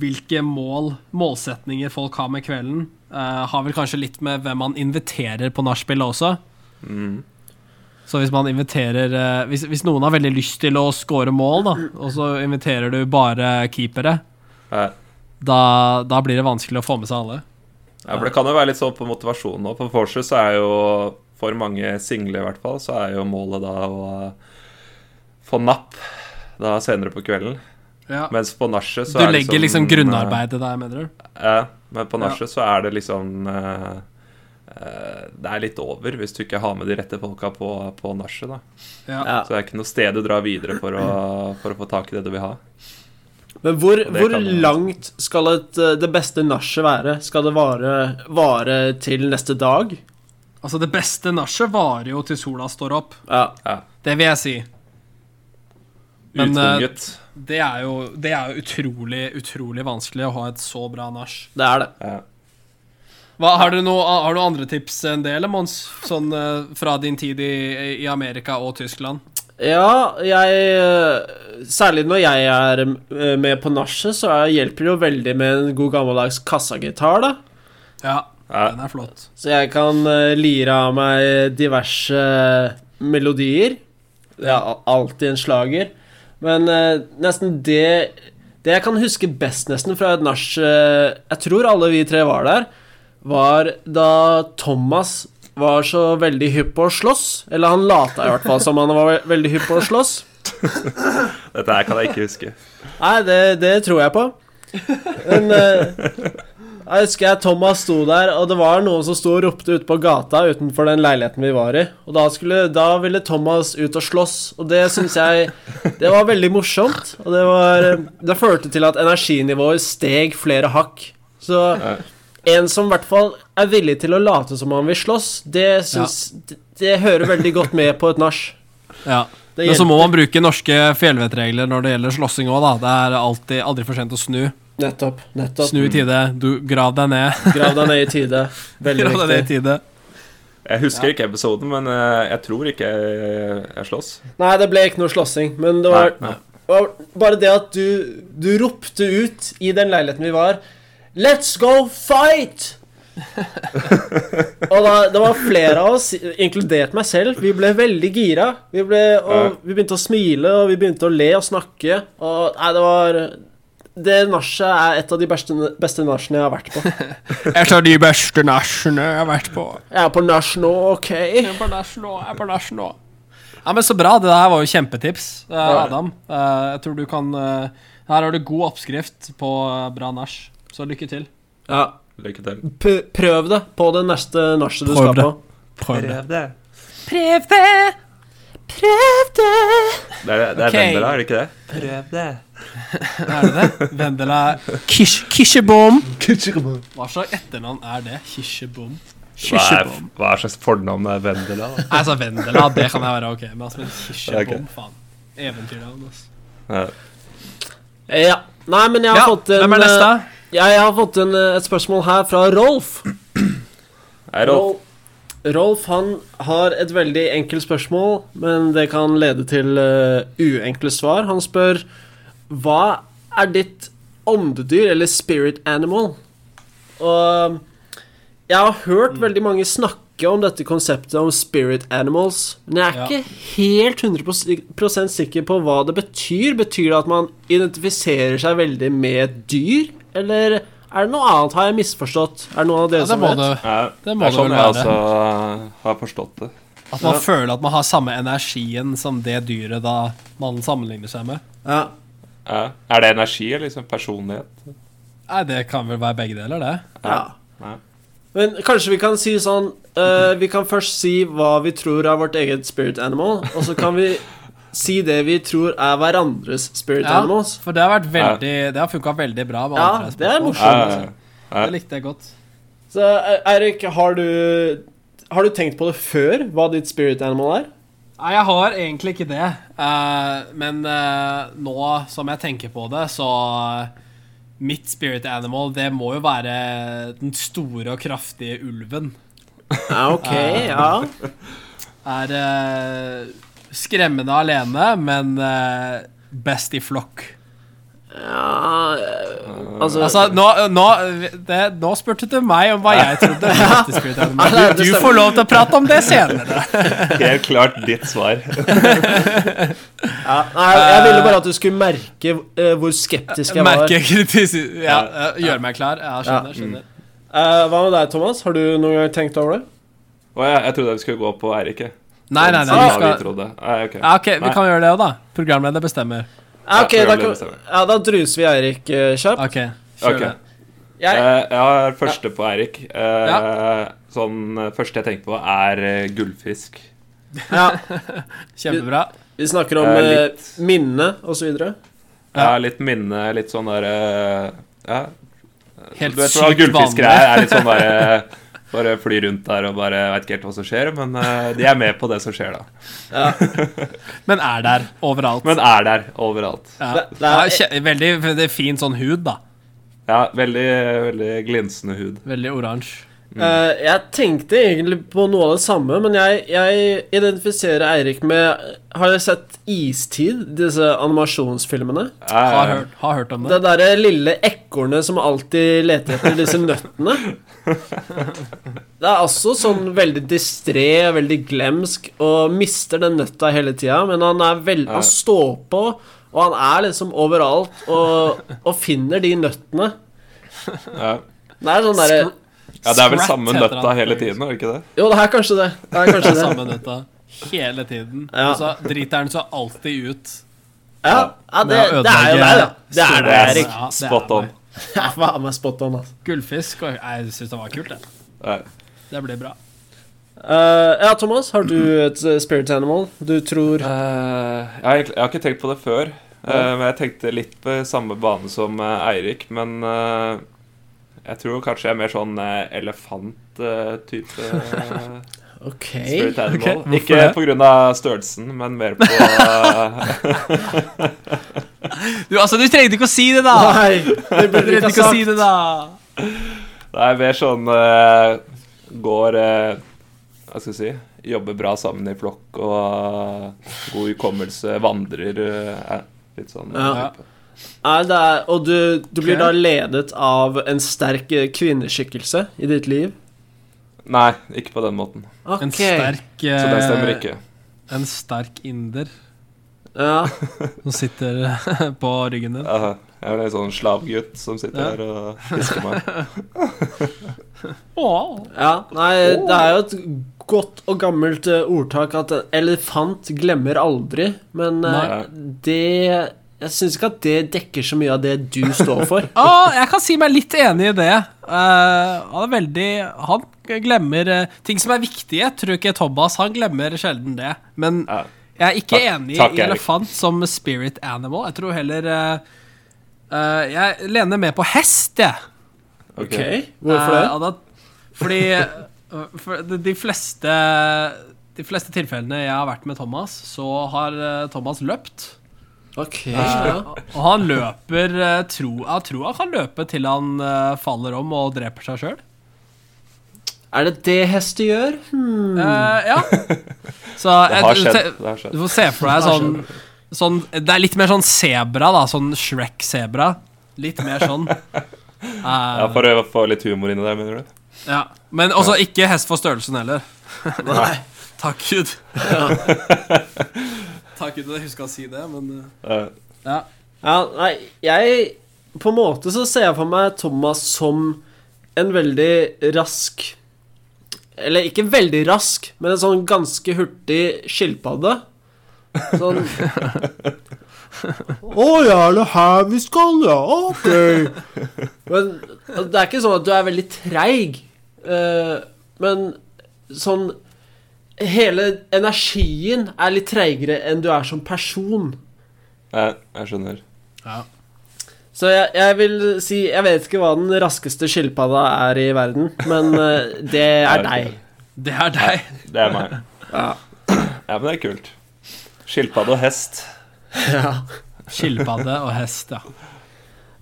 hvilke mål, målsetninger folk har med kvelden, eh, har vel kanskje litt med hvem man inviterer på nachspielet også. Mm. Så hvis man inviterer eh, hvis, hvis noen har veldig lyst til å score mål, da, og så inviterer du bare keepere, Ja. da, da blir det vanskelig å få med seg alle. Ja, for Det kan jo være litt sånn på motivasjon nå. For Forse så er jo for mange single, i hvert fall, så er jo målet da å eh, få napp da senere på kvelden. Mens på nachet så Du er eh, legger liksom grunnarbeidet der, mener du? Ja, men på nachet så er det liksom eh, eh, Det er litt over hvis du ikke har med de rette folka på, på nachet, da. Ja. Så det er ikke noe sted du drar videre for å, for å få tak i det du vil ha. Men hvor, det hvor kan man- langt skal et, eh, det beste nachet være? Skal det vare, vare til neste dag? Altså, det beste nachet varer jo til sola står opp. Ja. Det vil jeg si. Men, eh, Utvunget. Det er jo, det er jo utrolig, utrolig vanskelig å ha et så bra nach. Det er det. Ja. Hva, har, du noe, har du andre tips enn det, eller Mons? Sånn eh, fra din tid i, i Amerika og Tyskland? Ja, jeg eh, Særlig når jeg er eh, med på nachet, så er- hjelper det jo veldig med en god gammeldags kassagitar, da. Ja, Ja. den er flott. Så jeg kan eh, lire av meg diverse melodier. Det er al- alltid en slager. Men eh, nesten det Det jeg kan huske best nesten fra et nach eh, Jeg tror alle vi tre var der, var da Thomas var så veldig hypp på å slåss. Eller han lata i hvert fall som han var ve- veldig hypp på å slåss. Dette her kan jeg ikke huske. Nei, det, det tror jeg på. Men eh, jeg husker jeg Thomas sto der, og det var noen som sto og ropte ute på gata utenfor den leiligheten vi var i. Og da, skulle, da ville Thomas ut og slåss, og det syns jeg Det var veldig morsomt. Og det var Det førte til at energinivået steg flere hakk. Så en som i hvert fall er villig til å late som han vil slåss, det syns det, det hører veldig godt med på et nach. Ja. Det Men så hjelper. må man bruke norske fjellvettregler når det gjelder slåssing òg, da. Det er alltid, aldri for sent å snu. Nettopp. nettopp. Snu i tide. Du, grav deg ned. Grav deg ned i tide. Veldig *laughs* Grav deg viktig. ned i tide. Jeg husker ikke episoden, men eh, jeg tror ikke jeg, jeg slåss. Nei, det ble ikke noe slåssing, men det var, Nei, nei. var bare det at du, du ropte ut i den leiligheten vi var Let's go *laughs* fight! og da, det var flere av oss, inkludert meg selv, vi ble veldig gira. Vi, ble, Ja. og, vi begynte å smile, og vi begynte å le og snakke. Og nei, det var Det nachet er et av de beste, beste nachene jeg har *laughs* vært på. Et av de beste nachene jeg har vært på. Jeg er på nach nå, OK? Ja, men Så bra. Det her var jo kjempetips, eh, Adam. Eh, Jeg tror du kan eh, Her har du god oppskrift på eh, bra nach, så lykke til. Ja. Lykke til. P prøv det på det neste nachet du Prøv skal det. på. det. Prøv det! Prøv det! Det er, det er Ok. Vendela, er det ikke det? Prøv det. Er det det? *laughs* Vendela Kish, Kishebom. Hva slags etternavn er det? Kishebom? Hva er, Kishebom. hva er slags fornavn er Vendela? da? Altså, Vendela, det kan jeg være ok med. Altså, men Kishebom, Ok. faen. Eventyrnavn, altså. Ja. Ja. Nei, men jeg har Ja, fått en, hvem er neste? eh, Jeg, jeg har fått en, eh, et spørsmål her fra Rolf. Hei, Rolf. Rolf han har et veldig enkelt spørsmål, men det kan lede til eh, uenkle svar. Han spør Hva er ditt åndedyr, eller spirit animal? Og jeg har hørt Mm. veldig mange snakke om dette konseptet om spirit animals, men jeg er Ja. ikke helt 100 sikker på hva det betyr. Betyr det at man identifiserer seg veldig med et dyr, eller er det noe annet? Har jeg misforstått? Er det noen av dere Ja, det som må vet? du. Ja, Det må er det sånn vel jeg være. altså har forstått det. At man føler at man har samme energien som det dyret da man sammenligner seg med. Ja. Ja. Er det energi eller liksom personlighet? Nei, det kan vel være begge deler, det. Ja. Nei. Men kanskje vi kan si sånn eh, Vi kan først si hva vi tror er vårt eget spirit animal, og så kan *laughs* vi si det vi tror er hverandres spirit Ja, animals. for det har vært veldig Det har funka veldig bra. Med Ja, andre det er spørsmål. morsomt. Ja, ja, ja. Det likte jeg godt. Så eh, Eirik, har du har du tenkt på det før, hva ditt spirit animal er? Nei, jeg har egentlig ikke det. Eh, men eh, nå som jeg tenker på det, så eh, Mitt spirit animal, det må jo være den store og kraftige ulven. Ja, ok, ja. Er eh, skremmende alene, men eh, best i flokk. altså, Altså, nå, nå, det, nå spurte du meg *laughs* om hva jeg trodde. var mitt spirit animal. Du, du får lov til å prate om det *laughs* senere. Helt klart ditt svar. ja, Nei, jeg ville bare at du skulle merke eh, hvor skeptisk jeg var. Merke kritisk ja, eh, Gjøre meg klar. Ja, skjønner. skjønner. Eh, hva med deg, Thomas? Har du noen gang tenkt over det? Å, ja, jeg trodde vi skulle gå på Eirik. jeg. Nei, nei, nei. Sånn Vi sa vi skal, trodde. Nei, ok. ja, ok, Nei. vi kan gjøre det òg, da. Programleder bestemmer. Ja, ok, Ja, da, problemet kan- stemmer. ja, da druser vi Eirik eh, kjapt. Ok, kjør Ok. det. Jeg, Eh, Jeg har første på Eirik. Eh, Sånn eh, første jeg tenker på, er eh, gullfisk. ja, Kjempebra. Vi snakker om Eh, eh, litt. minne og så videre. Ja. Ja. litt minne, litt sånn derre ja. Du Helt vet hva sykt gullfisker vanlig. er? er litt sånn bare, bare fly rundt der og bare veit ikke helt hva som skjer, men eh, de er med på det som skjer, da. Men er der overalt. Men er der overalt. ja. Det- det er- Ja, kje- veldig det er fin sånn hud, da. Ja, veldig, veldig glinsende hud. Veldig oransje. *laughs* Eh, jeg tenkte egentlig på noe av det samme, men jeg, jeg identifiserer Eirik med Har dere sett Istid, disse animasjonsfilmene? Har hørt, har hørt om Det det. derre lille ekornet som alltid leter etter disse nøttene. Det er altså sånn veldig distré, veldig glemsk, og mister den nøtta hele tida, men han er vel... Ja. Han står på, og han er liksom overalt, og, og finner de nøttene. Ja. Det er sånn derre ja, det er vel Sprat samme heter nøtta han. hele tiden, er det ikke det? Jo, det er kanskje det. Det er *laughs* kanskje det. Samme nøtta hele tiden. Ja. Og så driter den seg alltid ut. Ja, ja det, det Med å er jo ødelegge deg, da. Det er det, altså. store- Erik. Ja, det er Spot on. meg. *laughs* Faen meg spot on, altså. Gullfisk og Jeg syns det var kult, det. Ja. Det blir bra. Eh, ja, Thomas, har du et eh, spirit animal du tror Eh, jeg, har egentlig- jeg har ikke tenkt på det før, eh, men jeg tenkte litt på samme bane som eh, Eirik. Men eh, jeg tror kanskje jeg er mer sånn elefant-type OK. eh, *laughs* spirit animal. hvorfor Ikke det? på grunn av størrelsen, men mer på eh, *laughs* Du, altså, du trengte ikke å si det, da! Nei, det *laughs* Du burde du trengte ikke ikke å ha si sagt. det, da! Det er mer sånn eh, Går eh, Hva skal jeg si Jobber bra sammen i flokk og eh, god hukommelse, vandrer eh, er Litt sånn Ja. type. Nei, det er, og du, du blir Ok. da ledet av en sterk eh, kvinneskikkelse i ditt liv. Nei, ikke på den måten. Ok. En sterk Så den Eh, stemmer ikke. En sterk inder Ja, som sitter *laughs* på ryggen din. Aha. Jeg er en sånn slavgutt som sitter Ja. her og fisker meg. Åh. ja. Nei, det er jo et godt og gammelt eh, ordtak at en elefant glemmer aldri, men eh, Nei. det Jeg syns ikke at det dekker så mye av det du står for. Ja, jeg kan si meg litt enig i det. Eh, han er veldig Han glemmer eh, ting som er viktige. Tror ikke Thomas han glemmer sjelden det. Men Ja. jeg er ikke Takk- enig takk, i Erik. elefant som spirit animal. Jeg tror heller eh, eh, Jeg lener mer på hest, jeg. *laughs* Ok. Ok, Hvorfor det? Eh, og da, fordi eh, for de, de fleste De fleste tilfellene jeg har vært med Thomas, så har eh, Thomas løpt. Ok, Eh, og han løper eh, tro, Jeg tror han kan løpe til han eh, faller om og dreper seg sjøl. Er det det hester gjør? Hmm. Eh, ja. Så Det har jeg- skjedd. se- Det har Du skjedd. får se for deg Det har sånn, sånn Det er litt mer sånn sebra, da. Sånn Shrek-sebra. Litt mer sånn. Ja, Eh, for å få litt humor inni der, mener du? ja. Men også ikke hest for størrelsen *laughs* heller. Nei. Takk Gud. *laughs* Takk Gud, jeg huska å si det, men Eh, ja. Ja, nei, jeg På en måte så ser jeg for meg Thomas som en veldig rask Eller ikke veldig rask, men en sånn ganske hurtig skilpadde. Sånn *laughs* Å ja, er det her vi skal, ja? Ok. Men det er ikke sånn at du er veldig treig. eh, men sånn Hele energien er litt treigere enn du er som person. eh, jeg skjønner. Så jeg, jeg vil si Jeg vet ikke hva den raskeste skilpadda er i verden, men eh, det er deg. Det er deg. Det er meg. Ja. Ja, men det er kult. Skilpadde og hest. Ja. Skilpadde og hest, ja.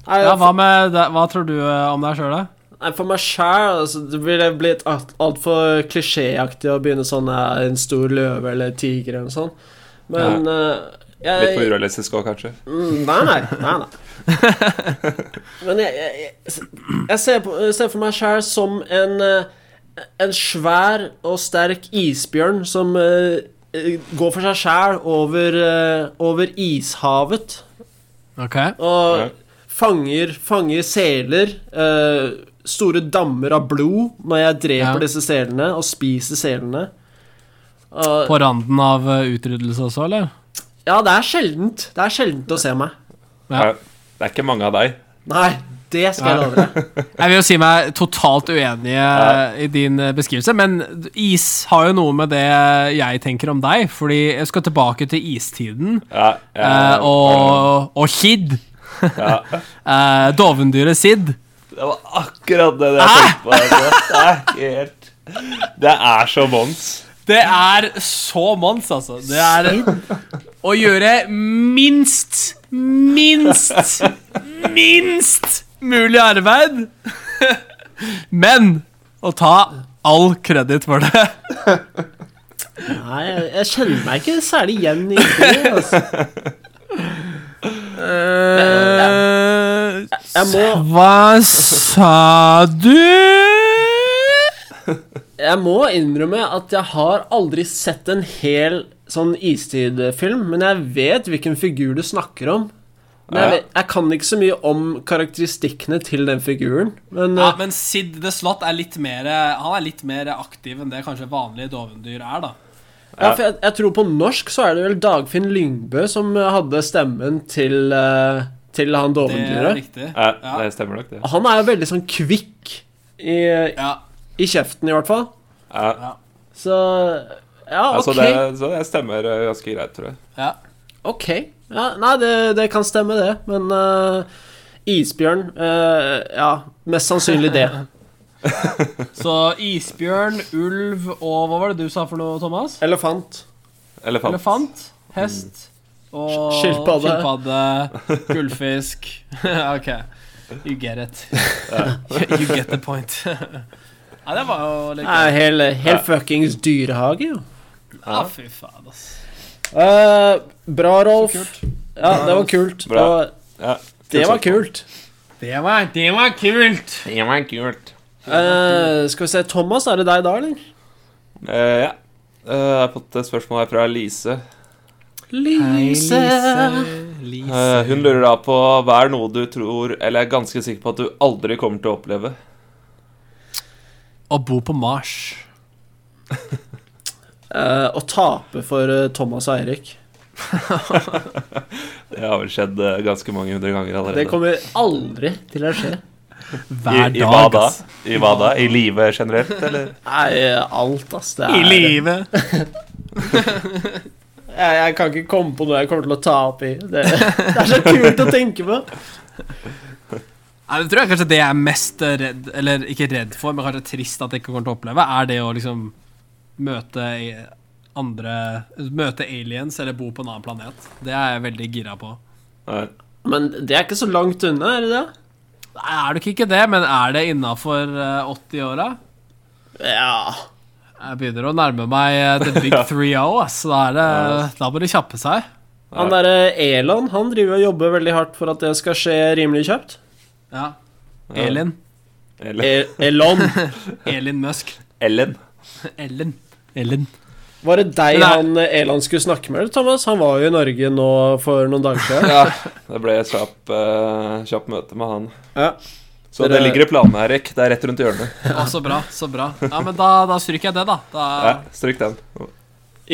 Nei, ja hva, for, med, deg- hva tror du eh, om deg sjøl, da? nei, for meg sjæl altså, det ville blitt altfor klisjéaktig å begynne sånn eh, en stor løve eller tiger eller noe sånt. Men eh, jeg Litt for urealistisk òg, kanskje. Mm, Nei, nei, nei, nei. *laughs* Men jeg, jeg, jeg, jeg ser, på, jeg ser for meg sjæl som en eh, En svær og sterk isbjørn som eh, eh, går for seg sjæl over, eh, over ishavet. Ok. Og Ja. fanger, fanger seler. eh, store dammer av blod når jeg dreper Ja. disse selene og spiser selene. Og- På randen av eh, utryddelse også, eller? ja, det er sjeldent. Det er sjeldent å se meg. Ja. Ja. Det er ikke mange av deg. Nei, det skal jeg Nei. love deg. Jeg vil jo si meg totalt uenig eh, i din eh, beskrivelse, men is har jo noe med det jeg tenker om deg, fordi jeg skal tilbake til istiden Ja, eh, jeg- og, og Kid. ja. Eh, Dovendyret Sid. Det var akkurat det jeg tenkte på. altså. Det er ikke helt Det er så mons. Det er så mons, altså. Det er å gjøre minst, minst, minst mulig arbeid. *laughs* Men og ta all kreditt for det. Nei, jeg, jeg kjenner meg ikke særlig igjen i det. Altså. Jeg må, Eh, Hva sa du? jeg må innrømme at jeg har aldri sett en hel sånn istidfilm, men jeg vet hvilken figur du snakker om. Men jeg, Ja. vet, jeg kan ikke så mye om karakteristikkene til den figuren, men Ja, eh, men Sid the Slot er litt mer, han er litt mer aktiv enn det kanskje vanlige dovendyr er, da. Ja, for jeg, jeg tror på norsk så er det vel Dagfinn Lyngbø som eh, hadde stemmen til, eh, til han Det er dovendyret. riktig. Ja, Ja. det stemmer nok, det. Han er jo veldig sånn kvikk i, Ja. i kjeften, i hvert fall. Ja, Så Ja, altså ok. det, så det stemmer eh, ganske greit, tror jeg. ja. ok. Ja, nei, det, det kan stemme, det. Men eh, isbjørn eh, Ja, mest sannsynlig det. Så isbjørn, ulv og Hva var det du sa for noe, Thomas? *laughs* Elefant. Mm. Elefant. Elefant, hest og Sk- skilpadde. skilpadde, *laughs* gullfisk. *laughs* ok, you get it. *laughs* you get the point. *laughs* Nei, det var jo litt Nei, hel, hel fuckings dyrehage, jo. Ja, Ah, fy faen, ass. Eh, bra, Rolf. kult. Ja, det var kult. Det Bra. var, Ja, det var sagt. kult. Det var, det var kult! Det var kult. Eh, skal vi se, Thomas, er det deg da, eller? Eh, ja. Eh, jeg har fått et spørsmål her fra Lise. Lise. Eh, hun lurer da på hva er noe du tror eller er ganske sikker på at du aldri kommer til å oppleve. Å bo på Mars. Eh, å tape for eh, Thomas og Eirik. Det har vel skjedd eh, ganske mange hundre ganger allerede. Det kommer aldri til å skje. Hver I, i hva dag, da? ass. I hva da? I livet generelt, eller? Nei, alt, ass. Det I er livet. Jeg, jeg kan ikke komme på noe jeg kommer til å ta opp i. Det, det er så kult å tenke på. Nei, det tror jeg kanskje det jeg er mest redd Eller ikke redd for, men kanskje trist at jeg ikke kommer til å oppleve, er det å liksom møte i- andre Møte aliens eller bo på en annen planet. Det er jeg veldig gira på. Nei. Men det er ikke så langt unna, er det det? Nei, er det ikke det, men er det innafor 80-åra? Ja Jeg begynner å nærme meg eh, the big three o, ass. Da, er det, da må de kjappe seg. Han derre Elon, han driver og jobber veldig hardt for at det skal skje rimelig kjapt. Ja. Elin. Eller E Elon. Elin Musk. Eh, Ellen. *laughs* Ellen. Ellen. Var det deg Men det er- han eh, Elon skulle snakke med, eller, Thomas? Han var jo i Norge nå for noen dager siden. Ja, det ble et kjapp, eh, kjapt møte med han. Ja. Så Dere- det ligger i planene, Erik. Det er rett rundt hjørnet. Å, så bra, så bra. Ja, men da, da stryker jeg det, da. Ja, da Stryk den.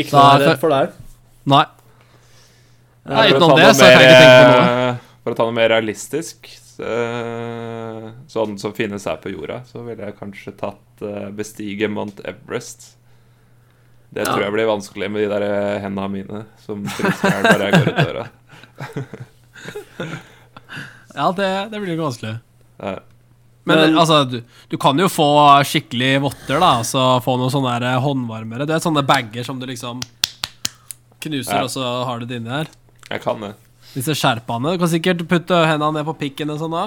Ikke Da noe er det- redd for deg. Nei. Nei, For å utenom ta det, noe så kan jeg ikke tenke på noe. eh, For å ta noe mer realistisk, eh, sånn som finnes her på jorda, så ville jeg kanskje tatt eh, bestige Mount Everest. Det Ja. tror jeg blir vanskelig med de der eh, hendene mine som fryser i hjel bare jeg går ut døra. Ja, det, det blir jo vanskelig. Ja. Men, Men- altså, du, du kan jo få skikkelig votter, da. Altså få noen sånne der håndvarmere. Det er sånne bager som du liksom knuser, Ja. og så har du det inni her. Jeg kan det. Disse skjerpaene. Du kan sikkert putte hendene ned på pikken og sånn da.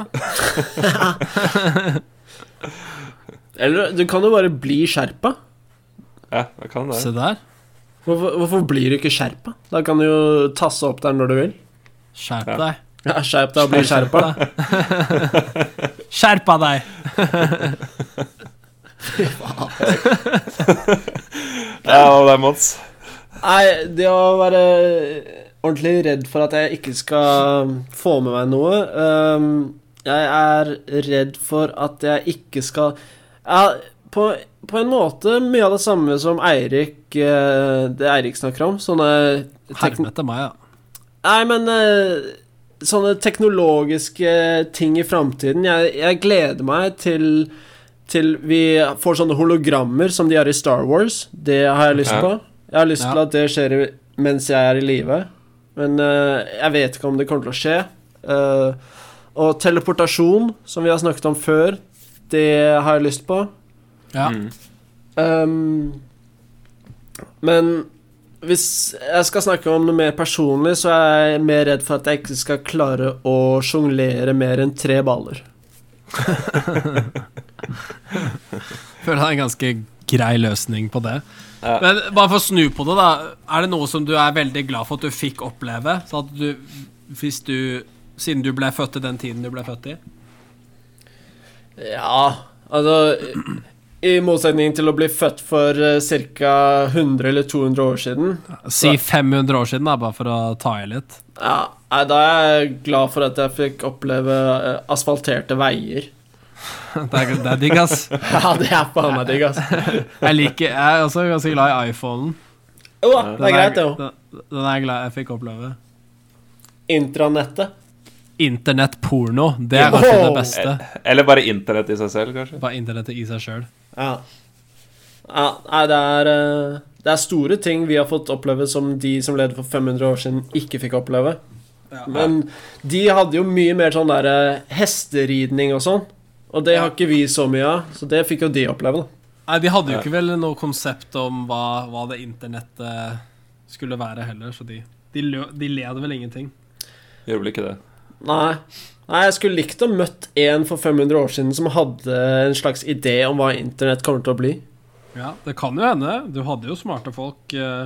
Eller du kan jo bare bli skjerpa. Ja, jeg kan det. Se der. Hvorfor, hvorfor blir du ikke skjerpa? Da kan du jo tasse opp der når du vil. Skjerp Ja. deg. Ja, skjerp deg og bli skjerpa. *laughs* Skjerpa deg! Ja, og det er Mons. Nei, det å være ordentlig redd for at jeg ikke skal få med meg noe øhm, Jeg er redd for at jeg ikke skal ja, på, på en måte mye av det samme som Eirik eh, Det Eirik snakker om. Sånne tekn- Helvete meg, ja. Nei, men eh, sånne teknologiske ting i framtiden jeg, jeg gleder meg til, til vi får sånne hologrammer som de har i Star Wars. Det har jeg lyst Ja. på. Jeg har lyst Ja. til at det skjer i- mens jeg er i live. Men eh, jeg vet ikke om det kommer til å skje. Eh, og teleportasjon, som vi har snakket om før, det har jeg lyst på. ja. Mm. Ehm, men hvis jeg skal snakke om noe mer personlig, så er jeg mer redd for at jeg ikke skal klare å sjonglere mer enn tre baller. Føler det er en ganske grei løsning på det. Ja. Men bare for å snu på det, da. Er det noe som du er veldig glad for at du fikk oppleve? Sånn at du, hvis du Siden du ble født i den tiden du ble født i? Ja, altså I motsetning til å bli født for ca. 100 eller 200 år siden, Si 500 år siden, da, bare for å ta i litt. ja, nei, da er jeg glad for at jeg fikk oppleve eh, asfalterte veier. *laughs* Det er, det er digg, ass. Ja, det er faen meg digg, altså. Jeg, liker, jeg er også ganske glad i iPhonen. Jo da, det er greit, det òg. Den, den er jeg glad jeg fikk oppleve. Intranettet. Internettporno, det er kanskje Wow. det beste. E- Eller bare internett i seg selv, kanskje. Bare internettet i seg sjøl. Ja. ja. Nei, det er eh, Det er store ting vi har fått oppleve som de som levde for 500 år siden, ikke fikk oppleve. Men de hadde jo mye mer sånn der eh, hesteridning og sånn. Og det har ikke vi så mye av, så det fikk jo de oppleve, da. Nei, de hadde jo ikke vel noe konsept om hva, hva det internettet skulle være heller, så de de, lø, de led vel ingenting. Gjorde vel ikke det. Nei. Nei, jeg skulle likt å møtt en for 500 år siden som hadde en slags idé om hva internett kommer til å bli. Ja, Det kan jo hende. Du hadde jo smarte folk eh,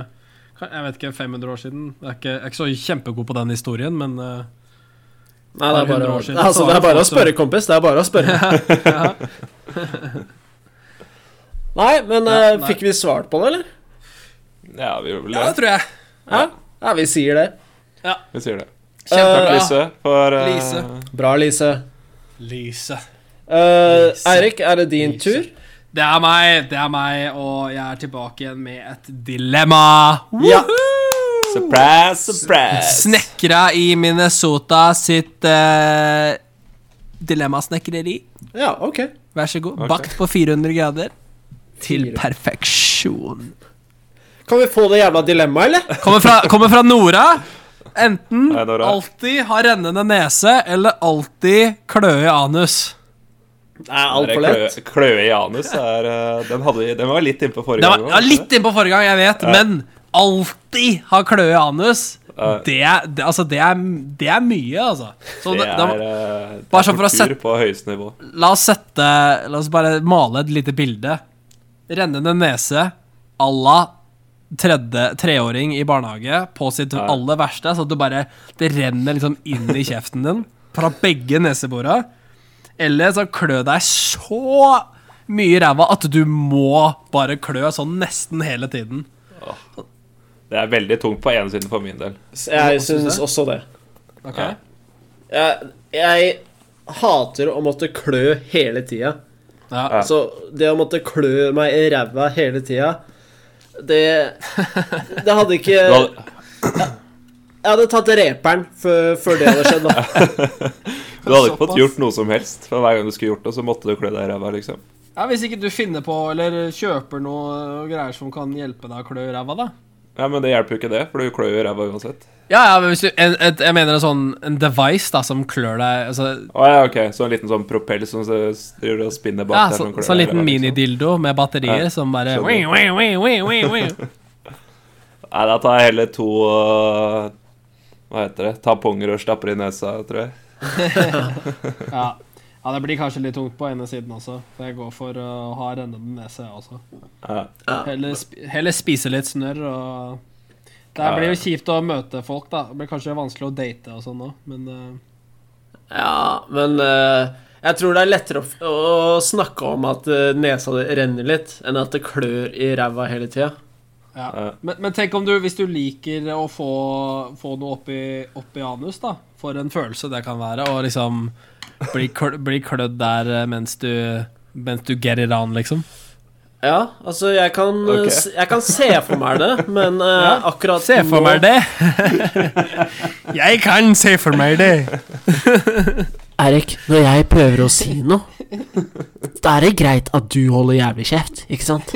kan- Jeg vet ikke, 500 år siden. Jeg er ikke, jeg er ikke så kjempegod på den historien, men eh, *laughs* Nei, det er Bare 100 bare, år siden, så altså, det var er det bare å folk som- spørre, kompis. Det er bare å spørre. *laughs* Nei, men Ja, eh, nei. fikk vi svart på det, eller? Ja, vi gjorde vel Ja, det det. tror jeg. Ja, ja vi sier det. Vi sier det. Kjempebra. Takk, Eh, Lise, for eh, Lise. Bra, Lise. Lyset. Eh, Lise. Eirik, er det din Lise. tur? Det er meg, det er meg, og jeg er tilbake igjen med et dilemma. Ja. Surprise, surprise! Snekkere i Minnesota sitt eh, dilemmasnekreri. Ja, ok. Vær så god. Ok. Bakt på 400 grader. Til Fire. perfeksjon. Kan vi få det jævla dilemmaet, eller? Kommer fra, kommer fra Nora. Enten Hei, Nora. alltid ha rennende nese, eller alltid kløe i anus. Nei, altfor Den der lett. klø- Kløe i anus er eh, Den, hadde, vi- den var litt innpå forrige Det var, gang. ja, litt innpå forrige gang, jeg vet, men alltid ha kløe i anus. Ja. Det, er- det, altså, det, er, det er mye, altså. Så Det det, da- er, eh, det bare er sånn for å tortur sette- på høyeste nivå. La oss sette La oss bare male et lite bilde. Rennende nese à la tredje- treåring i barnehage på sitt Ja. aller verste, så at du bare Det renner liksom inn i kjeften din fra begge nesebora. Eller så klø deg så mye i ræva at du må bare klø sånn nesten hele tiden. Det er veldig tungt på ene siden for min del. Jeg syns også det. Ja. Jeg, jeg hater å måtte klø hele tida. Ja. Så det å måtte klø meg i ræva hele tida, det Det hadde ikke *laughs* Du Jeg hadde, hadde tatt reperen før, før det hadde skjedd. Da. du hadde ikke fått Såpass. gjort noe som helst. For hver gang du skulle gjort det, så måtte du klø deg i ræva, liksom. ja, Hvis ikke du finner på eller kjøper noe greier som kan hjelpe deg å klø i ræva, da. Ja, men det hjelper jo ikke det, for du klør jo i ræva uansett. Ja, ja, men hvis du, en, et, jeg mener en sånn en device da, som klør deg altså, Å ja, ok, så en liten sånn propell som så- s- driver og spinner bak ja, deg. så, som klør Sånn deg i liten ræva, liksom. minidildo med batterier Ja, som bare skjønner. wing, wing, wing, wing, wing, wing. Nei, da tar jeg heller to øh, Hva heter det? Tamponger og stapper i nesa, tror jeg. ja. ja, det blir kanskje litt tungt på ene siden også, så jeg går for å ha rennende nese jeg også. Ja. Heller, sp heller spise litt snørr og Det Ja, blir ja. jo kjipt å møte folk, da. Det blir kanskje vanskelig å date og sånn òg, men eh, Ja, men eh, jeg tror det er lettere å, f- å snakke om at eh, nesa di renner litt, enn at det klør i ræva hele tida. ja. Ja. Men, men tenk om du, hvis du liker å få, få noe oppi, oppi anus, da. For en følelse det kan være. Og liksom bli, kl, bli klødd der eh, mens du, mens du get it on, liksom. Ja, altså, jeg kan, eh, Ok. s- jeg kan se for meg det, *laughs* men eh, Ja, akkurat Se for nå- meg det! *laughs* jeg kan se for meg det! Erik, når jeg prøver å si noe, da er det greit at du holder jævlig kjeft, ikke sant?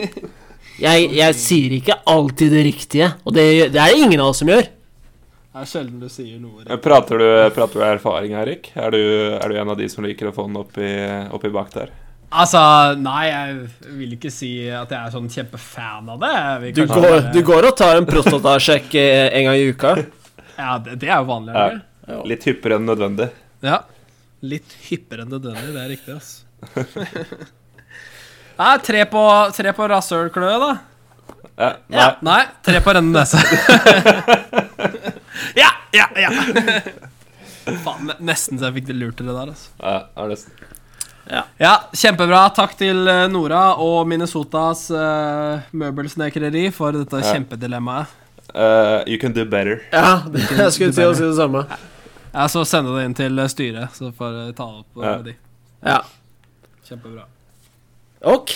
Jeg, jeg sier ikke alltid det riktige, og det, det er det ingen av oss som gjør. Det er sjelden du sier noe. Men Eh, Prater du, prater du av erfaring, Erik? Er du, er du en av de som liker å få den opp i, opp i bak der? Altså, nei, jeg vil ikke si at jeg er sånn kjempefan av det. Jeg vil Du kanskje går, være- du går og tar en prostatasjekk eh, en gang i uka? Ja, det, det er jo vanlig. Ja. eller? Litt hyppigere enn nødvendig. Ja. Litt hyppere enn nødvendig, det er riktig, ass. *laughs* Nei, tre på, tre på rasshølkløe, da. Ja, Eh, nei, Nei, tre på *laughs* rennende nese. ja, ja, ja. Faen, ne- nesten så jeg fikk det lurt til det der, altså. ja, jeg har nesten. Ja, kjempebra. Takk til eh, Nora og Minnesotas eh, møbelsnekreri for dette kjempedilemmaet. Eh, you can do better. Ja, *laughs* det, jeg skulle til å si det samme. Ja, så sende det inn til eh, styret, så får jeg ta opp eh, Ja. med de. Ja. Kjempebra. OK,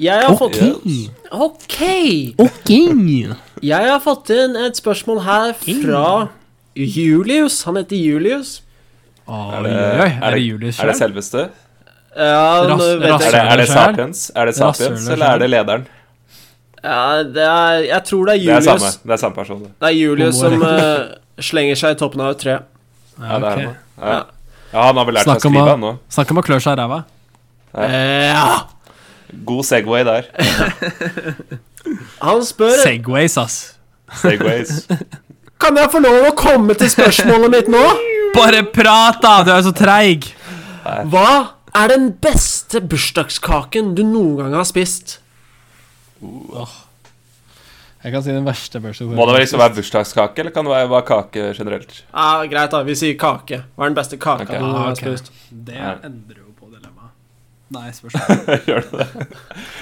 jeg har fått OK! Ok. Jeg har fått inn et spørsmål her fra Julius. Han heter Julius. Oi, Er det- oi, Eh, er oi. Er det det- Julius Er det sjøl? selveste? Ja, nå Ras- vet Er jeg, det, er det Rasshølet selv? Sapiens, er det sapiens Rasshølet eller er det lederen? ja, det er, jeg tror det er Det er samme, Julius. det er samme person. det. Det er Julius Homo som eh, slenger seg i toppen av et tre. Ja, det er ok. han. Ja. ja, han har vel lært Snakk seg å om å- skrive, han nå. Snakk om å klø seg i ræva. Ja. God Segway der. Han spør Segways, ass. Segways. Kan jeg få lov å komme til spørsmålet mitt nå? Bare prat, da! Du er jo så treig. Hva er den beste bursdagskaken du noen gang har spist? Jeg kan si den verste bursdagen. Må det vel liksom være bursdagskake, eller kan det være- være kake generelt? *laughs* Ja, Greit, da. Vi sier kake. Hva er den beste kaka Ok. du noen gang Ah, har ok. spist? Det Ja. endrer jo på dilemmaet. Nei, spørsmål. Gjør du det?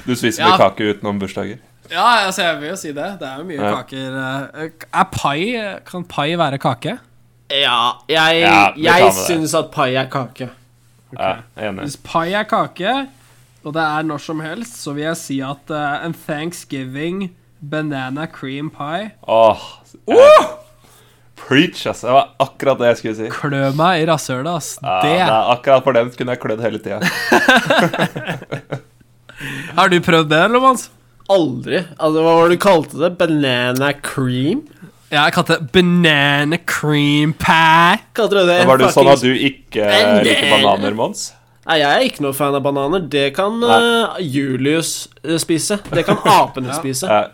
Du spiser mye Ja. kake utenom bursdager. *laughs* Ja, altså, jeg vil jo si det. Det er jo mye Ja. kaker. eh, Er pai Kan pai være kake? Ja, jeg, Ja, vi tar jeg med det. syns at pai er kake. Ja, jeg er enig. Hvis pai er kake, og det er når som helst, så vil jeg si at eh, en thanksgiving banana cream pie Åh, jeg, preach, ass. Det var akkurat det jeg skulle si. Klø meg i rasshølet, ass. Ja, det det. er akkurat for den kunne jeg klødd hele *laughs* tida. Har du prøvd det, Lomans? Aldri. Altså, hva var det du kalte det? Banana cream? Ja, jeg kalte det banana cream pie. Kalte du det? Var du sånn at fuckings- du ikke eh, Men det- liker bananer, Mons? Nei, jeg er ikke noe fan av bananer. Det kan Nei. eh, Julius eh, spise. Det *laughs* kan apene spise. Ja,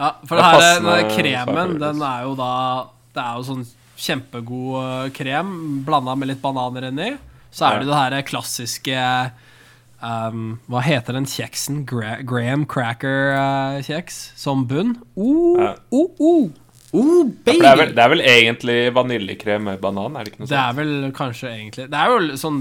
Ja, for Det det er her, den der passende kremen, saker, den er jo da Det er jo sånn kjempegod eh, krem blanda med litt bananer inni. Så er det jo det her klassiske ehm, Hva heter den kjeksen? Gra Graham cracker-kjeks som bunn. Uh, Ja. uh, uh. Oh, for det er, vel, baby! det er vel egentlig vaniljekrem med banan, er det ikke noe Det er sånt? vel kanskje egentlig Det er jo sånn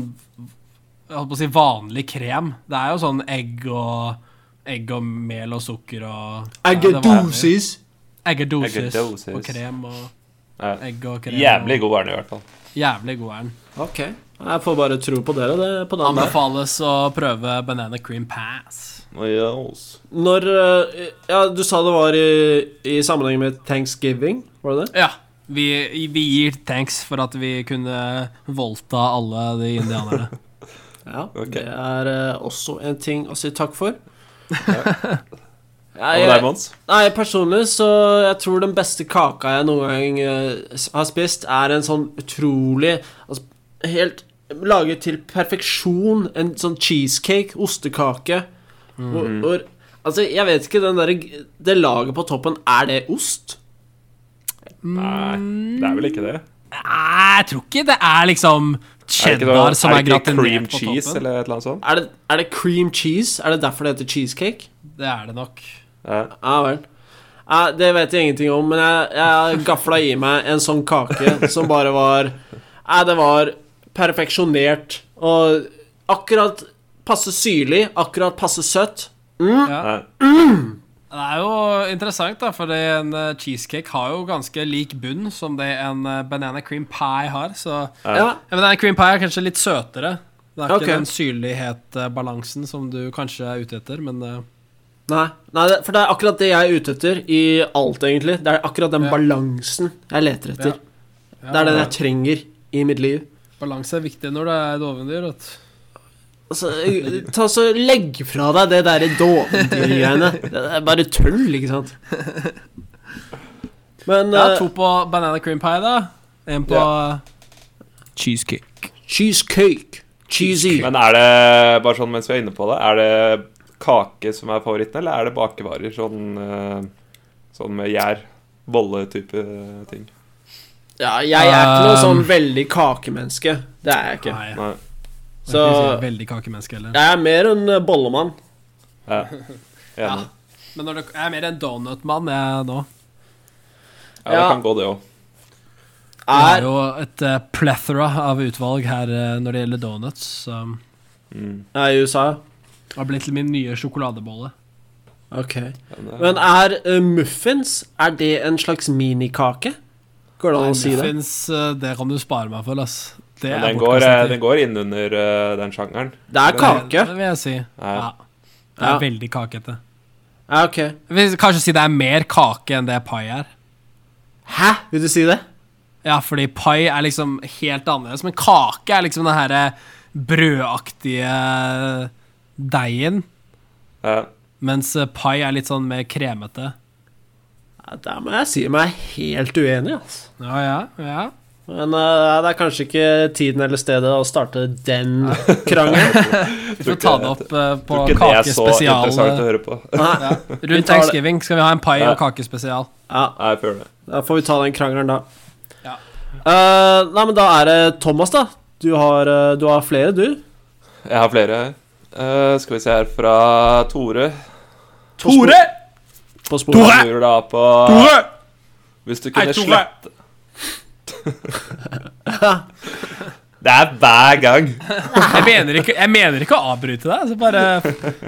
Jeg holdt på å si vanlig krem. Det er jo sånn egg og Egg og mel og sukker og ja, det var- Eggedosis. Eggedosis. Eggedosis. Og krem og Ja. egg og krem. Jævlig god er den i hvert fall. Og jævlig god er den. Ok. Jeg får bare tro på dere det, på den der. Anbefales å prøve banana cream pass. Når eh, Ja, du sa det var i, i sammenheng med thanksgiving, var det det? Ja. Vi, vi gir thanks for at vi kunne voldta alle de indianerne. *laughs* Ja. Ok. Det er eh, også en ting å si takk for. *laughs* Hva Ja. med deg, Mons? Nei, personlig så jeg tror den beste kaka jeg noen gang eh, s- har spist, er en sånn utrolig altså, Helt laget til perfeksjon. En sånn cheesecake, ostekake. Hvor, hvor, altså, jeg vet ikke, den der, det laget på toppen, er det ost? Nei, det er vel ikke det? Nei, jeg tror ikke det er liksom Er det ikke, cheddar som er er det ikke cream gratinert på cheese toppen. eller et eller annet sånt? Er det, er det cream cheese? Er det derfor det heter cheesecake? Det er det nok. Ja. Ja vel. Ja, det vet jeg ingenting om, men jeg, jeg gafla i meg en sånn kake som bare var Nei, det var perfeksjonert og akkurat passe syrlig, akkurat passe søtt. Ja. Ja. Det er jo interessant, da, for en eh, cheesecake har jo ganske lik bunn som det en eh, banana cream pie har, så Ja, Ja, men den cream pie er kanskje litt søtere. Det er Ok. ikke den syrlighetsbalansen som du kanskje er ute etter, men eh, nei, nei, det- for det er akkurat det jeg er ute etter i alt, egentlig. Det er akkurat den Ja. balansen jeg leter etter. ja, Det er den jeg trenger i mitt liv. balanse er viktig når det er dovendyr. vet du. Altså, ta så Legg fra deg det derre dovendyrgreiene. Det er bare tull, ikke *laughs* sant? Men Ja, eh, to på banana cream pie, da. En på Cheesecake. Cheesecake. Cheesy. Men er det, bare sånn mens vi er inne på det, er det kake som er favoritten, eller er det bakevarer? Sånn, eh, sånn med gjær, bolletype ting. Ja, jeg er ikke noe Um, sånn veldig kakemenneske. Det er jeg ikke. Nei, jeg er Nei. ikke Så veldig kakemenneske heller. jeg er mer en eh, bollemann. Ja. Ja. Enig. Men når det, jeg er mer en donutmann jeg nå. Ja, det Ja. kan gå, det òg. Det er Er jo et eh, plethora av utvalg her eh, når det gjelder donuts. Så Er i USA? det har blitt til min nye sjokoladebolle. Ok. Men er eh, muffins Er det en slags minikake? Går det an å si det? Muffins, eh, det kan du spare meg for, ass. Det Men er den går, bortkastet eh, tid. den går innunder eh, den sjangeren. Det er kake. Det, det vil jeg si. Ja. Ja. Det er Ja. veldig kakete. Ja, ok. Jeg vil kanskje si det er mer kake enn det pai er. Hæ? Vil du si det? Ja, fordi pai er liksom helt annerledes, men kake er liksom den herre brødaktige deigen, Ja. mens eh, pai er litt sånn mer kremete. Ja, der må jeg si meg helt uenig, altså. Ja, ja, ja. Men eh, det er kanskje ikke tiden eller stedet å starte den krangelen. Vi får ta det opp eh, på Tror ikke det er så kakespesial. interessant å høre på. Nei. eh, Vi Rundt tar det. Thanksgiving skal vi ha en pai Ja. og kakespesial. Ja, Nei, jeg føler det. da får vi ta den krangelen da. Ja. Eh, nei, men da er det Thomas, da. Du har, eh, du har flere, du. Jeg har flere. Eh, skal vi se her fra Tore. På spor- På sporet. Han lurer da på Ah, Hvis du kunne Hei, Tore! slette Det er hver gang. *laughs* Jeg mener ikke, jeg mener ikke å avbryte deg. Så bare,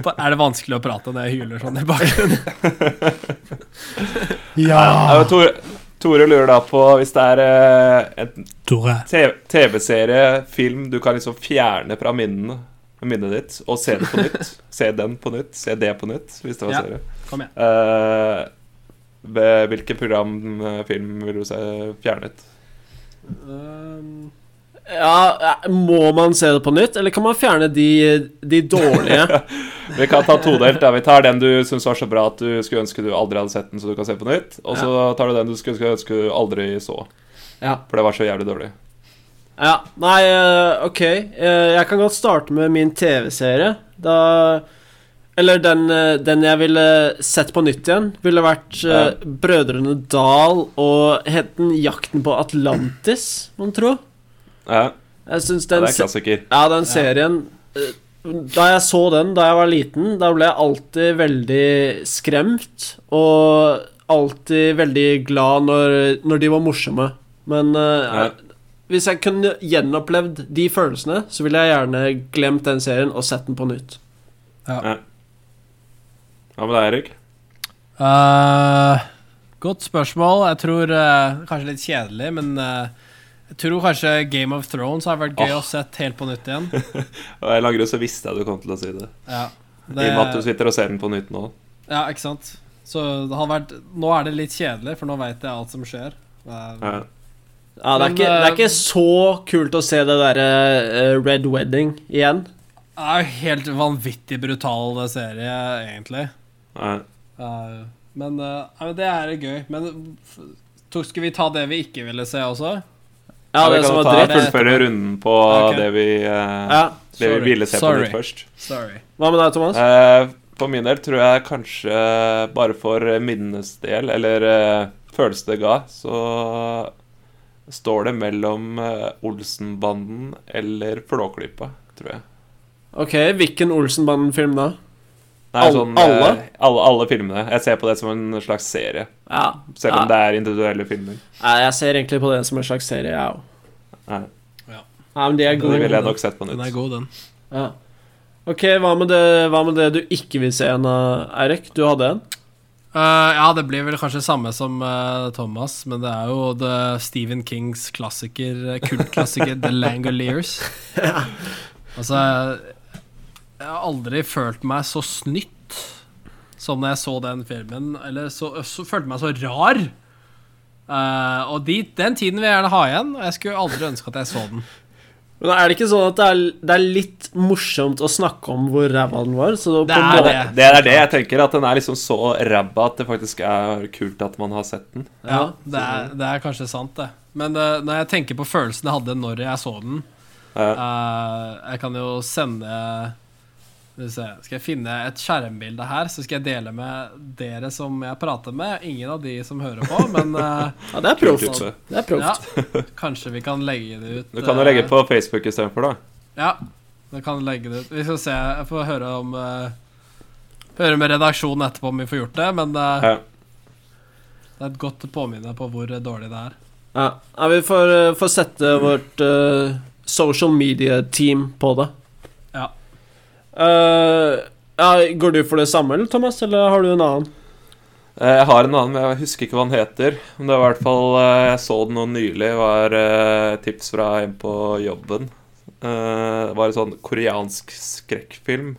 bare, er det vanskelig å prate når jeg hyler sånn i *laughs* bakgrunnen? Ah. Ja, men Tore, Tore lurer da på hvis det er eh, en Tore. te- TV-serie, film, du kan liksom fjerne fra minnene minnet ditt og se det på nytt. Se den på nytt, se det på nytt, hvis det var Ja. serie. Kom igjen. Eh, hve- Hvilke program, eh, film vil du se fjernet? Ja, eh, må man se det på nytt, eller kan man fjerne de, de *laughs* dårlige? Vi kan ta todelt. da. Vi tar den du syns var så bra at du skulle ønske du aldri hadde sett den, så du kan se på nytt. Og så tar du den du skulle ønske du aldri så, ja. for det var så jævlig dårlig. ja. Nei, eh, ok. Eh, jeg kan godt starte med min TV-serie. Da Eller den, eh, den jeg ville sett på nytt igjen, ville vært eh, Brødrene Dal og het den Jakten på Atlantis, mon tro. Ja, Jeg syns ja, den det er se- klassiker. Ja, den serien eh, Da jeg så den da jeg var liten, da ble jeg alltid veldig skremt. Og alltid veldig glad når, når de var morsomme. Men eh, Ja. hvis jeg kunne gjenopplevd de følelsene, så ville jeg gjerne glemt den serien og sett den på nytt. Hva med deg, Erik? Eh, godt spørsmål. Jeg tror eh, Kanskje litt kjedelig, men eh, jeg tror kanskje Game of Thrones har vært gøy Åh. å sett helt på nytt igjen. Og jeg lager så visste jeg du kom til å si det. *laughs* I og Ja, med at du det, sitter og ser den på nytt nå. ja ikke sant? Så det har vært Nå er det litt kjedelig, for nå veit jeg alt som skjer. Eh, Ja. Ja, det, er Men, ikke, det er eh, ikke så kult å se det derre eh, Red Wedding igjen. Det er jo helt vanvittig brutal eh, serie, egentlig. Ja. Eh, men eh, ja, men det er gøy. Men f to, skal vi ta det vi ikke ville se også? Ja, vi det som kan var ta dritt. fullføre runden på Ok. det vi, eh, Ja. det vi sorry. ville se på Sorry. nytt først. Sorry. Hva med deg, Thomas? Eh, For min del tror jeg kanskje eh, bare for minnenes del, eller eh, følelsen det ga, så står det mellom eh, Olsenbanden eller Flåklypa, tror jeg. Ok, hvilken Olsenbanden-film da? Nei, Al- eh, alle? alle? Alle filmene. Jeg ser på det som en slags serie, Ja, selv om ja. det er individuelle filmer. Nei, jeg ser egentlig på det som en slags serie, jeg òg. Nei. Ja. Nei, men de er Det gode. ville jeg nok sett på Den er nytt. god, den. Ja. Ok, hva med, det, hva med det du ikke vil se igjen, da, Eirik? Du hadde en? Eh, ja, det blir vel kanskje samme som eh, Thomas, men det er jo The Stephen Kings klassiker, eh, kultklassiker The Langoliers. Altså, jeg har aldri følt meg så snytt som når jeg så den filmen, eller så, så følte meg så rar. Eh, og de, den tiden vil jeg gjerne ha igjen, og jeg skulle aldri ønske at jeg så den. Men er det ikke sånn at det er, det er litt morsomt å snakke om hvor ræva den var? Så Det på en er måte- det. Det er det jeg tenker, at den er liksom så ræva at det faktisk er kult at man har sett den. Ja, det er, det er kanskje sant, det. Men eh, når jeg tenker på følelsen jeg hadde når jeg så den Ja. Eh, jeg kan jo sende skal, vi se, skal jeg finne et skjermbilde her, så skal jeg dele med dere som jeg prater med. Ingen av de som hører på, men eh, Ja, det er Kult proft. type. Det er proft. ja, kanskje vi kan legge det ut. Du kan jo eh, legge det på Facebook istedenfor, da. Ja, vi kan legge det ut. Vi skal se. Jeg får høre om eh, Høre med redaksjonen etterpå om vi får gjort det, men det, Ja. det er et godt påminne på hvor eh, dårlig det er. Ja, ja vi får, eh, får sette vårt eh, social media-team på det. Ja. Eh, ja, går du for det samme, eller, Thomas, eller har du en annen? Eh, Jeg har en annen, men jeg husker ikke hva den heter. Men det var i hvert fall eh, Jeg så den nå nylig. var eh, tips fra en på jobben. Eh, Det var en sånn koreansk skrekkfilm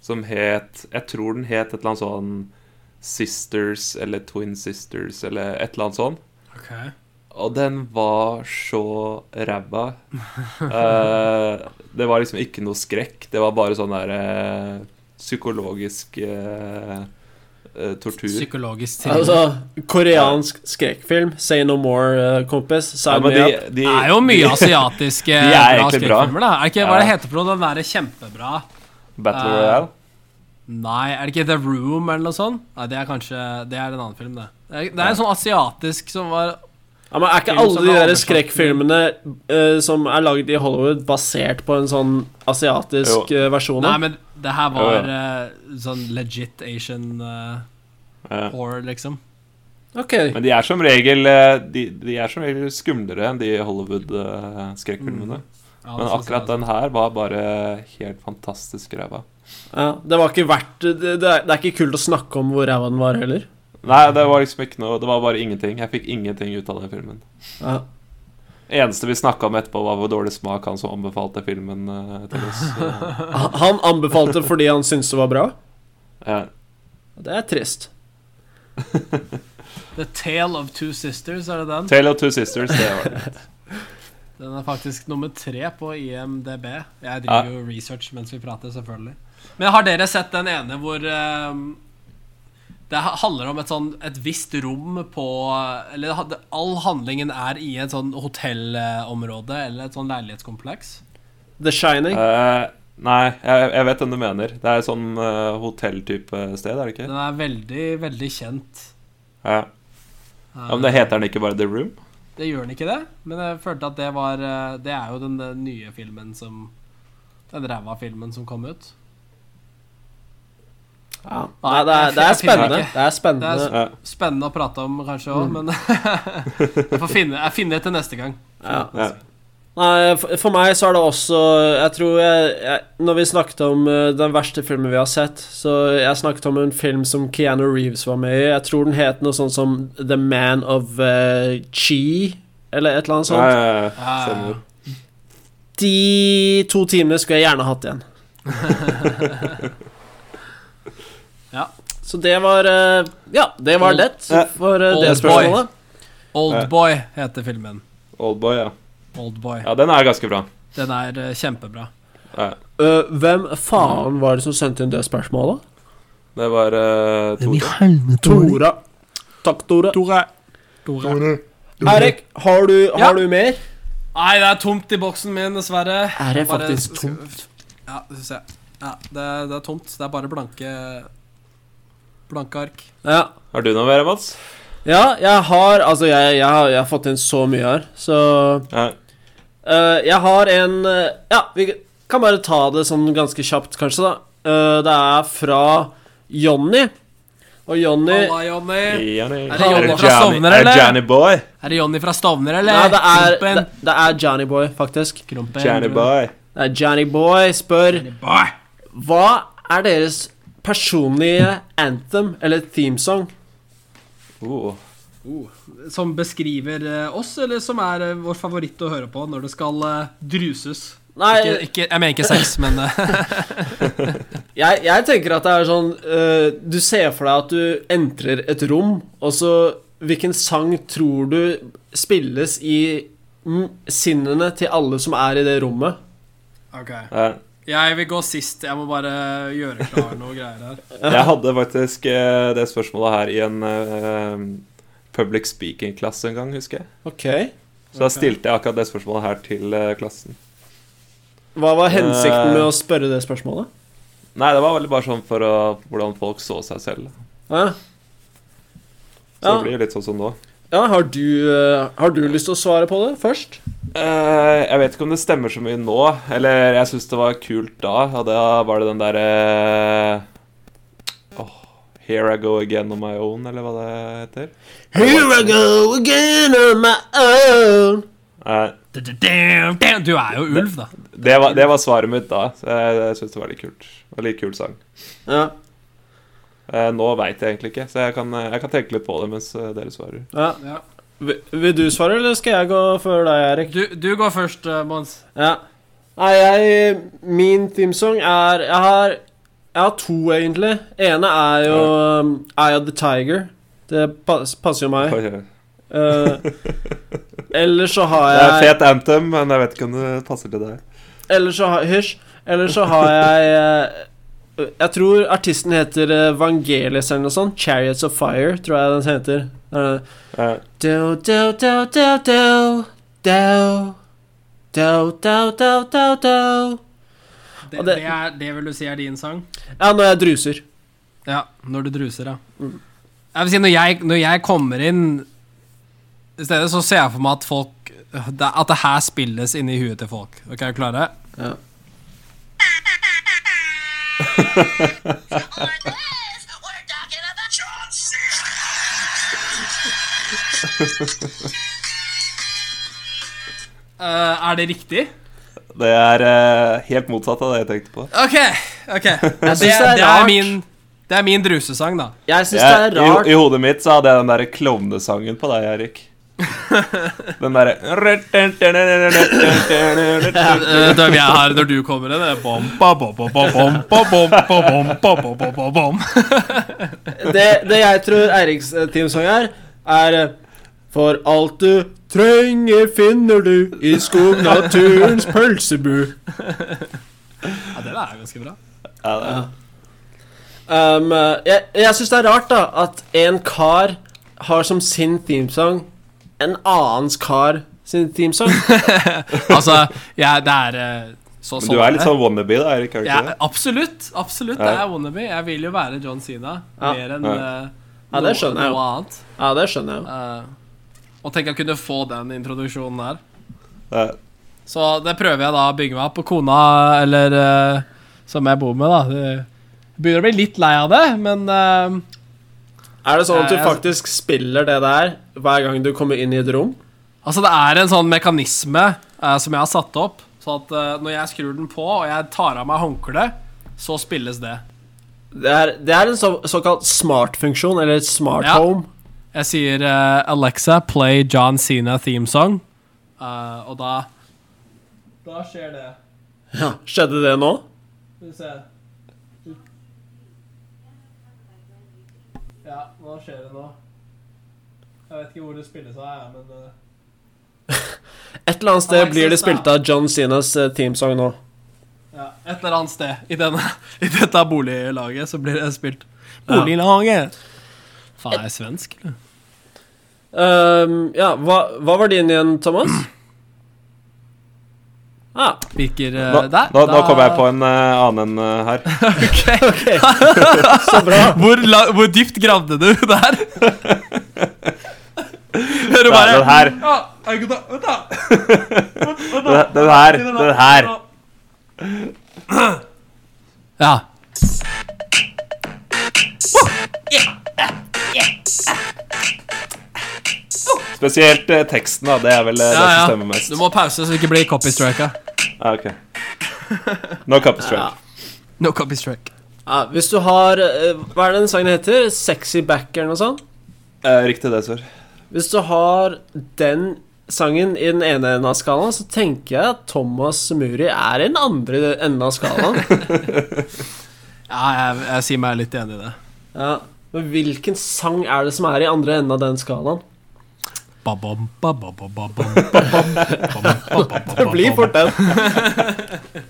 som het Jeg tror den het et eller annet sånn Sisters eller Twin Sisters eller et eller annet sånn. Og den var så ræva. Eh, det var liksom ikke noe skrekk. Det var bare sånn der eh, psykologisk eh, eh, tortur. Psykologisk thriller. *laughs* Altså, koreansk skrekkfilm. Say no more, eh, kompis. Sign Ja, men me de, up. de, det er jo mye de- *laughs* asiatiske De er bra egentlig bra. skrekkfilmer, da. Er det ikke, Hva er det Ja. heter for noe? Den derre kjempebra Battle Eh, Royale. Nei, er det ikke The Room eller noe sånt? Nei, det er kanskje Det er en annen film, det. Det er, det er en sånn asiatisk som var Ja, men er ikke film alle de som er der oversatt til- skrekkfilmene eh, som er lagd i Hollywood, basert på en sånn asiatisk eh, versjon? Nei, av? men det her var Sånn, Ja, eh, sånn legit Asian eh, Ja. horror, liksom. Ok. Men de er som regel eh, De, de er som regel skumlere enn de Hollywood-skrekkfilmene. Mm. Ja, Men det synes jeg akkurat også. den her var bare helt fantastisk ræva. Ja, det var ikke verdt det, det, er, det er ikke kult å snakke om hvor ræva den var, heller. Nei, det var liksom ikke noe Det var bare ingenting. Jeg fikk ingenting ut av den filmen. Ja. Eneste vi snakka om etterpå, var hvor dårlig smak han som anbefalte filmen eh, til oss. *laughs* Så, Han han anbefalte fordi han syntes det var bra. ja. Det er trist. The Tale of Two Sisters, er det den? Tale of Two Sisters, det var det. Den er faktisk nummer tre på IMDb. Jeg Ja. driver jo research mens vi prater, selvfølgelig. Men har dere sett den ene hvor ehm, det ha- handler om et sånn et visst rom på Eller ha- det- all handlingen er i et sånn hotellområde eller et sånn leilighetskompleks? The Shining. Eh, nei, jeg, jeg vet hvem du mener. Det er sånn eh, hotelltype sted, er det Den ikke? er veldig, veldig kjent. Ja. ja, Men det heter den ikke bare The Room? Eh, Det gjør den ikke det, men jeg følte at det var eh, Det er jo den, eh, nye filmen som Den ræva filmen som kom ut. Ja. Nei, det er, det er spennende. Det er spennende. Ja. Spennende å prate om kanskje òg, men *laughs* jeg får finne, jeg finner det til neste gang. Ja. Ja. Nei, for, for meg så er det også Jeg tror jeg, jeg Når vi snakket om eh, den verste filmen vi har sett, så jeg snakket om en film som Keanu Reeves var med i. Jeg tror den het noe sånt som The Man of eh, Chi, eller et eller annet sånt. Ja, ja, ja. Ja, ja, ja. Stemmer. De to timene skulle jeg gjerne hatt igjen. Ja. Så det var eh, Ja, det var Old- lett for eh, det Old boy. spørsmålet. Oldboy heter filmen. Oldboy, ja. Oldboy. Ja, den er ganske bra. Den er eh, kjempebra. Ja. Eh, hvem faen var det som sendte inn det spørsmålet? Det var eh, to Tora. Takk, Tora. Tore. Erik, har du, har Ja. du mer? Nei, det er tomt i boksen min, dessverre. Er det Bare- faktisk tomt? Ja, det syns jeg. Ja, det, det er tomt. Det er bare blanke Blanke ark. Ja. Har du noe mer, Mats? ja, jeg har Altså, jeg, jeg, har, jeg har fått inn så mye her, så Ja. eh, Jeg har en eh, Ja, vi kan bare ta det sånn ganske kjapt, kanskje, da. Eh, det er fra Jonny. Og Jonny Halla, Jonny. Johnny. det Johnny det fra Johnny- Stovner, er det eller? Johnny Boy? Er det Jonny fra Stovner, Nei, eller? det er, det, Krompen. det er Johnny Boy, faktisk. Krompen. Johnny Boy. Det er Johnny Boy spør Boy. Hva er deres personlige anthem eller themesong? Oh. Som beskriver eh, oss, eller som er eh, vår favoritt å høre på når det skal eh, druses? Nei, Ikke, ikke, jeg mener ikke sex, men eh, *laughs* Jeg, jeg tenker at det er sånn eh, Du ser for deg at du entrer et rom, og så Hvilken sang tror du spilles i mm, sinnene til alle som er i det rommet? Ja. Jeg vil gå sist. Jeg må bare gjøre klar noe greier her. Jeg hadde faktisk eh, det spørsmålet her i en eh, public speaking-klasse en gang, husker jeg. Ok Så da stilte jeg akkurat det spørsmålet her til eh, klassen. Hva var hensikten Eh. med å spørre det spørsmålet? Nei, det var veldig bare sånn for å, hvordan folk så seg selv. Ja, Så Ja. det blir jo litt sånn som nå. ja har, du, eh, har du lyst til å svare på det først? Eh, jeg vet ikke om det stemmer så mye nå, eller jeg syns det var kult da, og da var det den derre eh, Here I go again on my own, eller hva det heter. Here I go again on my own. Eh, Du er jo ulv, da. det, var, det var svaret mitt da. Så jeg, jeg syns det var litt kult. Det var litt kul sang. Ja, Eh, nå veit jeg egentlig ikke, så jeg kan, eh, jeg kan tenke litt på det mens eh, dere svarer. ja. Vil, vil du svare, eller skal jeg gå før deg, Erik? Du, du går først, eh, Mons. Ja. Nei, jeg Min themesong er Jeg har Jeg har to, egentlig. Ene er jo um, Eye of the Tiger. Det pass, passer jo meg. Det Uh, ellers så har er jeg fet anthem, men jeg vet ikke om det passer til deg. Ellers så har Hysj. Ellers så har jeg eh, Jeg tror artisten heter eh, Vangelis eller noe sånt. Chariots of Fire, tror jeg den heter. Uh, Eh, Do, do, do, do, do, do. Do, do, do, do, do. Det, Og det, det- er, det vil du si er din sang? Ja, når jeg druser. Ja, når du druser, ja. Mm. Jeg vil si, når jeg, når jeg kommer inn i stedet, så ser jeg for meg at folk det- At det her spilles inni huet til folk. Ok, er du klare? Ja. on this. We're talking about Trump. Eh, er det riktig? Det er eh, helt motsatt av det jeg tenkte på. Ok, ok. Jeg Det, syns det, det, er er rart. min, det er min drusesang, da. Jeg syns det Jeg, er i, ho- rart. I hodet mitt så hadde jeg den derre klovnesangen på deg, Erik. *laughs* Den derre Eh, Dem jeg har når du kommer inn, er bom, ba, bom, ba, bom, bom, ba, bom, ba, bom, ba, bom, ba, bom, bom. Det, det jeg tror Eiriks eh, teamsong er, er eh, For alt du trenger, finner du i skognaturens pølsebu. Ja, det der er ganske bra. Ja, det er- Um, eh, jeg jeg syns det er rart da at en kar har som sin themesong en annens kar sin themesong. Altså, jeg, det er eh, så Men du er litt sånn wannabe, da, Erik? Er du ja, ikke det? Absolutt. absolutt, Det Ja. er wannabe. Jeg vil jo være John Sina Ja. mer enn Ja. eh, Ja, det skjønner noe, jeg jo. noe annet. Ja, det skjønner jeg jo. Eh, og tenk å kunne få den introduksjonen her. Ja. Eh, Så det prøver jeg da å bygge meg opp. Og kona, eller eh, som jeg bor med, da hun Begynner å bli litt lei av det, men eh, Er det sånn at du Nei, jeg- faktisk spiller det der hver gang du kommer inn i et rom? Altså, det er en sånn mekanisme eh, som jeg har satt opp. Så at eh, når jeg skrur den på, og jeg tar av meg håndkleet, så spilles det. Det er, det er en så, såkalt smartfunksjon, eller et smart Ja. home. Jeg sier eh, Alexa, play John Sina theme song. Eh, og da Da skjer det. Skjedde det nå? Skal vi se. Ja, nå skjer det nå. Jeg vet ikke hvor det spilles av, men eh, Et eller annet sted Alexis, blir det da. spilt av John Sinas eh, teamsong nå. ja, Et eller annet sted i, denne, i dette boliglaget så blir det spilt. Boliglaget! Faen, jeg er svensk, eller? Ehm, ja, hva, hva var din igjen, Thomas? Ah, Virker eh, Nå, der. nå, nå kom jeg på en eh, annen eh, *laughs* her. så bra. Hvor, la, hvor dypt gravde du der? Hører du Ja, bare den her. Ja, jeg kan ta- vent da. Den, den her. Den her. Ja. Spesielt eh, teksten, da. Det er vel eh, ja, det som ja. stemmer mest. Du må pause så du ikke blir copystrika. Ja, ok. No copy strike. No copystrike. Ja, hvis du har eh, Hva er det den sangen heter? Sexy Back eller noe sånt? Eh, Riktig det, sør. Hvis du har den sangen i den ene enden av skalaen, så tenker jeg at Thomas Muri er i den andre enden av skalaen. Ja, jeg, jeg sier meg litt enig i det. Ja. Men hvilken sang er det som er i andre enden av den skalaen? Ba-bom, ba-bom, ba-bom, ba-bom, ba-bom, ba-bom, Det blir fort *laughs* den.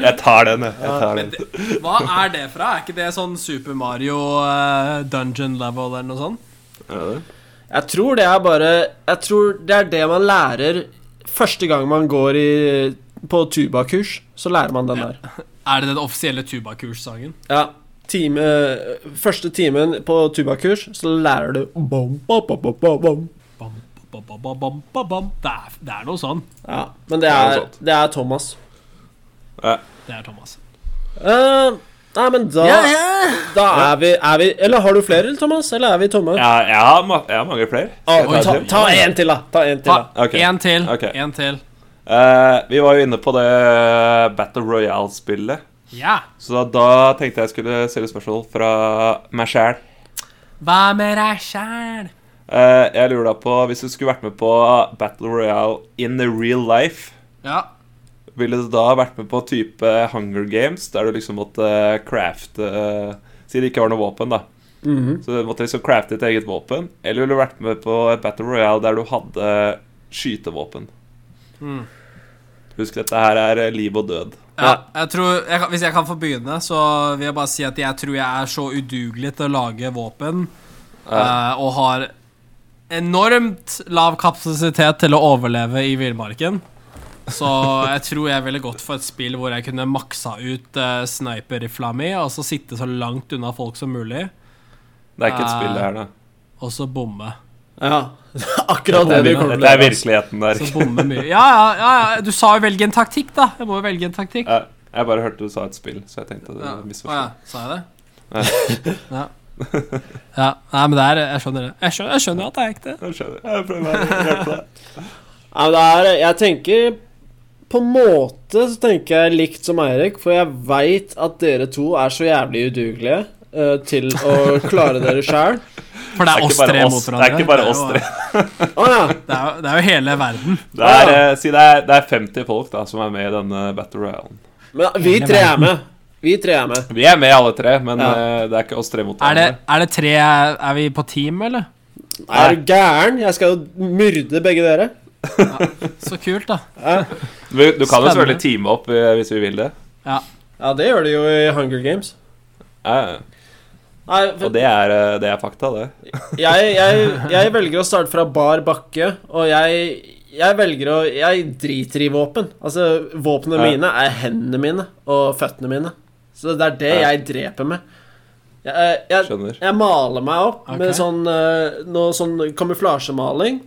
Jeg tar den, jeg. jeg tar den. ba-bom. Hva er det fra? Er ikke det sånn Super Mario eh, dungeon level eller noe sånt? Jeg tror det er bare Jeg tror det er det man lærer første gang man går i, på tubakurs. Så lærer man den der. Er det den offisielle tubakurssangen? Ja. Time, første timen på tubakurs, så lærer du bom, bom, bom, bom, bom, bom. Bam, ba, ba, ba, bam, ba, bam. Det, er, det er noe sånn. Ja, men det Ja, det er er, sant. det er Thomas. Det er Thomas. Eh, Nei, men da, da er, vi, er vi Eller har du flere, Thomas? Eller er vi tomme? Ja, jeg, har, ma jeg har mange flere. Ah, Skal Å, jeg ta ta, et til? ta en til, da. Ta en til, Ta da. Ok. én til. Ok. En til. Eh, vi var jo inne på det Battle Royale-spillet. Ja. Så da, da tenkte jeg skulle stille spørsmål fra meg sjæl. Hva med deg sjæl? Eh, jeg lurer da på, hvis du skulle vært med på Battle Royale in the real life, Ja. ville du da vært med på type Hunger Games, der du liksom måtte eh, crafte eh, Si det ikke var noe våpen, da. Så du måtte liksom crafte ditt eget våpen. Eller ville du vært med på et Battle Royale der du hadde skytevåpen? Husk, dette her er eh, liv og død. Ja, jeg tror, jeg, kan- hvis jeg kan få begynne, så vil jeg bare si at jeg tror jeg er så udugelig til å lage våpen eh, og har enormt lav kapasitet til å overleve i villmarken. Så jeg tror jeg ville gått for et spill hvor jeg kunne maksa ut uh, sniperrifla mi, og så sitte så langt unna folk som mulig, Det er ikke et Eh, spill, det her, da. og så bomme. Ja. *laughs* Akkurat det Det vi er, kommer det er til. virkeligheten der. Så bomme mye. Ja, ja, ja, ja. Du sa jo velge en taktikk, da. Jeg må jo velge en taktikk. Ja, Jeg bare hørte du sa et spill, så jeg tenkte det Ja. Å misforstod. ja, sa jeg det? *laughs* Ja. ja. Nei, men det er Jeg skjønner det. Jeg skjønner, jeg skjønner at det er ekte. Jeg skjønner. Jeg prøver å hjelpe *laughs* deg. Ja, men det er, jeg tenker På en måte så tenker jeg likt som Eirik, for jeg veit at dere to er så jævlig udugelige eh, til å klare dere sjæl. For Det er det er oss ikke bare tre oss- mot det er hverandre. ikke bare jo- oss tre. Å ja. Det er, jo- det er jo hele verden. Det er, eh, si det er, det er 50 folk da som er med i denne Battle Royalen. Men vi tre er med. Vi tre er med. Vi er med alle tre, men Ja. eh, det er ikke oss tre mot Er det, hverandre. er det tre Er vi på team, eller? Er du gæren? Jeg skal jo myrde begge dere. Så kult, da. *laughs* Du, du kan jo Spennende. selvfølgelig teame opp eh, hvis vi vil det. Ja, det gjør de jo i Hunger Games. Ja, ja. Nei, og det er, eh, det er fakta, det. jeg, jeg, jeg velger å starte fra bar bakke, og jeg, jeg velger å Jeg driter i våpen. Altså, våpnene Ja. mine er hendene mine og føttene mine. Så det er det Ja. jeg dreper med. Jeg, eh, jeg, Skjønner. jeg maler meg opp Ok. med sånn, eh, noe sånn kamuflasjemaling,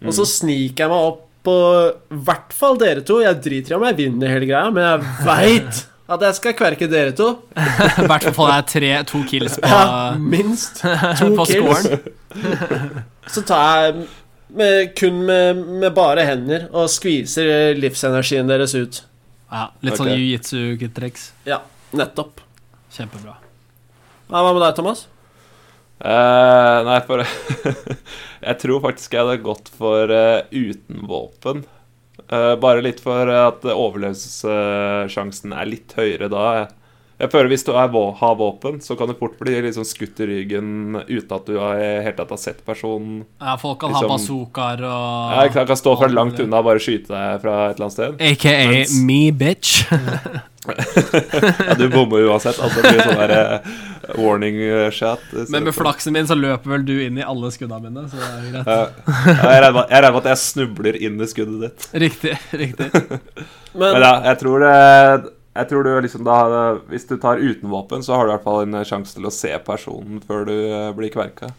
og Mm. så sniker jeg meg opp på i hvert fall dere to. Jeg driter i om jeg vinner hele greia, men *laughs* jeg veit at jeg skal kverke dere to. I hvert fall det er tre, to kills på, Ja, minst to *laughs* på kills. scoren. *laughs* Så tar jeg med, kun med, med bare hender og skviser livsenergien deres ut. Ja, litt sånn Ok. jiu-jitsu-triks. Ja, nettopp. Kjempebra. Ja, hva med deg, Thomas? Eh, nei, for *laughs* Jeg tror faktisk jeg hadde gått for eh, uten våpen. Eh, bare litt for at overlevelsessjansen er litt høyere da. Jeg, jeg føler Hvis du er, vå- har våpen, så kan du fort bli liksom skutt i ryggen uten at du har, i hele tatt har sett personen. Ja, folk kan Liksom- ha bazookaer og Jeg kan, kan stå fra Ah, langt det. unna og bare skyte deg fra et eller annet sted. AKA Mens- me, *laughs* bitch. Ja, Du bommer uansett. Altså, det blir sånn der, eh, warning eh, shot. eh, Men med så- flaksen min så løper vel du inn i alle skudda mine, så det er jo greit. Ja, ja, jeg regner med- jeg regner med at jeg snubler inn i skuddet ditt. Riktig. riktig Men, Men ja, jeg tror det jeg tror du liksom da, Hvis du tar uten våpen, så har du i hvert fall en eh, sjanse til å se personen før du eh, blir kverka.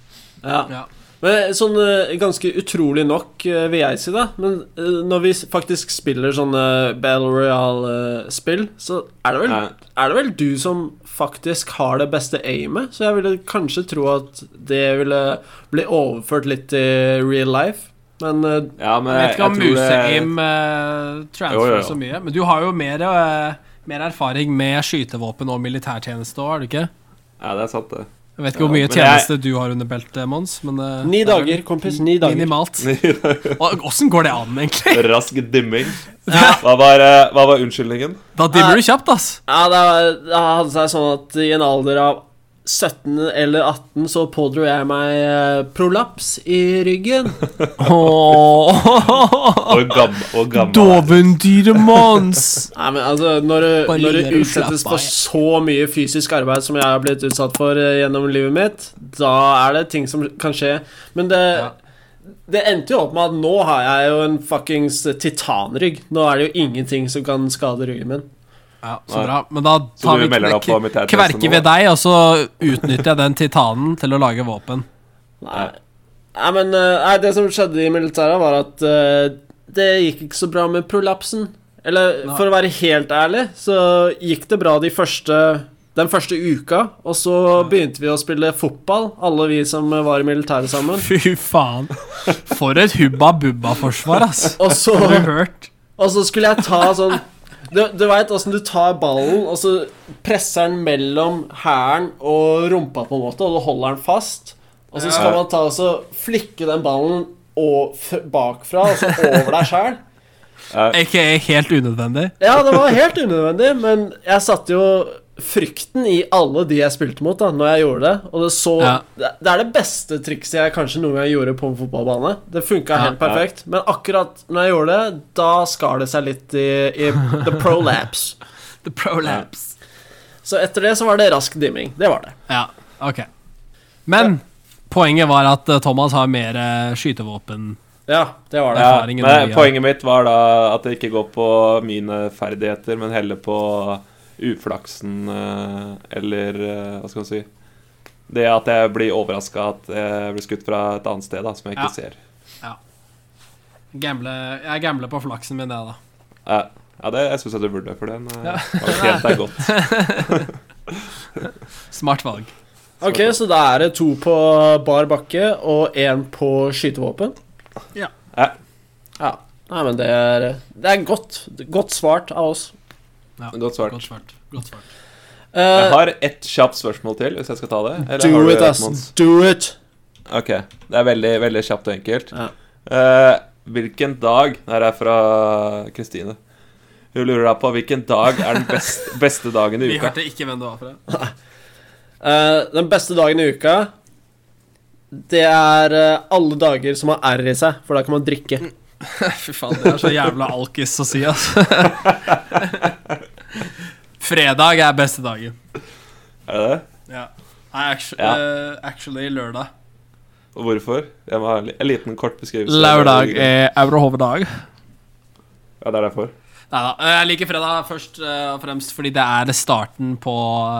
ja. Ja. men sånn eh, ganske utrolig nok, eh, vil jeg si, da. Men eh, når vi s- faktisk spiller sånne Battle Royale-spill, så er det, vel, Ja. er det vel du som faktisk har det beste aimet. Så jeg ville kanskje tro at det ville bli overført litt til real life. Men eh, Ja, men Jeg vet ikke om tror det- museim eh, transfer Jo, jo, jo. så mye, men du har jo mer, eh, mer erfaring med skytevåpen og militærtjeneste òg, har du ikke? Ja, det er sant, det. Jeg vet ikke hvor mye men jeg- tjeneste du har under beltet, Mons, men eh, ni det er vel dager, kompis. Ni dager. Minimalt. Og Åssen går det an, *laughs* egentlig? Rask dimming. Hva, var, eh, hva var unnskyldningen? Da dimmer du kjapt, ass. Ja, det, var- det hadde seg sånn at i en alder av 17 eller 18 så pådro jeg meg eh, prolaps i ryggen. Åh, Og gam, og gammel. *laughs* Dovendyret Mons. Nei, men altså, når du, Bare når ligger du og utsettes for slapper av, jeg. så mye fysisk arbeid som jeg har blitt utsatt for eh, gjennom livet mitt, da er det ting som kan skje. Men det Ja. Det endte jo opp med at nå har jeg jo en fuckings eh, titanrygg. Nå er det jo ingenting som kan skade ryggen min. Ja, så bra. Men da Så tar du vi melder deg på kverk- militærtjeneste nå, kverker ved da? deg, og så utnytter jeg den titanen til å lage *laughs* våpen. Nei. Nei, men eh, nei, det som skjedde i militæret, var at eh, det gikk ikke så bra med prolapsen. Eller Nei. for å være helt ærlig, så gikk det bra de første den første uka, og så begynte vi å spille fotball, alle vi som var i militæret sammen. *laughs* Fy faen. For et hubba bubba-forsvar, *laughs* ass. Og så, Har du hørt? og så skulle jeg ta sånn Du, du veit åssen du tar ballen, og så presser den mellom hælen og rumpa, på en måte, og du holder den fast. Og så skal Ja. man ta og så flikke den ballen og f bakfra, og så over deg sjæl. Ikke helt unødvendig. Ja, det var helt unødvendig, men jeg satte jo frykten i alle de jeg spilte mot, da, når jeg gjorde det. Og det så Ja. Det det er det beste trikset jeg kanskje noen gang gjorde på en fotballbane. Det funka helt perfekt, men akkurat når jeg gjorde det, da skar det seg litt i, i the prolapse. The prolapse. Så etter det så var det rask dimming. Det var det. Ja, ok. Men poenget var at eh, Thomas har mer eh, skytevåpen. Ja, det var det. Ja, erfaringen men mye. poenget mitt var da at det ikke går på mine ferdigheter, men heller på uflaksen eh, eller eh, hva skal man si Det at jeg blir overraska at jeg blir skutt fra et annet sted da, som jeg Ja. ikke ser. Gamble, jeg gambler på flaksen min, jeg, da. Ja, ja det, jeg syns jeg du burde, for *laughs* den eh, Ja. kvalitet er godt. Smart valg. Ok, så da er det to på bar bakke og én på skytevåpen. Ja, Ja. Nei, men det er, det er godt. Godt svart av oss. godt svart. Godt svart. Godt svart. Eh, Jeg har ett kjapt spørsmål til, hvis jeg skal ta det. eller har do du it, et, ass. Mons? Do it. Ok, det er veldig, veldig kjapt og enkelt. Ja. Eh, hvilken dag Det her er fra Kristine. Hun lurer deg på hvilken dag er den best, beste dagen i Vi uka. hørte ikke hvem det *laughs* var fra. Eh, den beste dagen i uka Det er eh, alle dager som har R i seg, for da kan man drikke. Mm. Fy faen, det er så jævla alkis å si, altså. *laughs* Fredag er beste dagen. Er det det? Ja. Nei, actually, Ja. eh, actually lørdag. Og hvorfor? Jeg må ha en li- en liten kort beskrivelse. Lørdag eh. Ja, er eurohovedag. det er derfor. Nei da. eh, Jeg liker fredag først eh, og fremst fordi det er starten på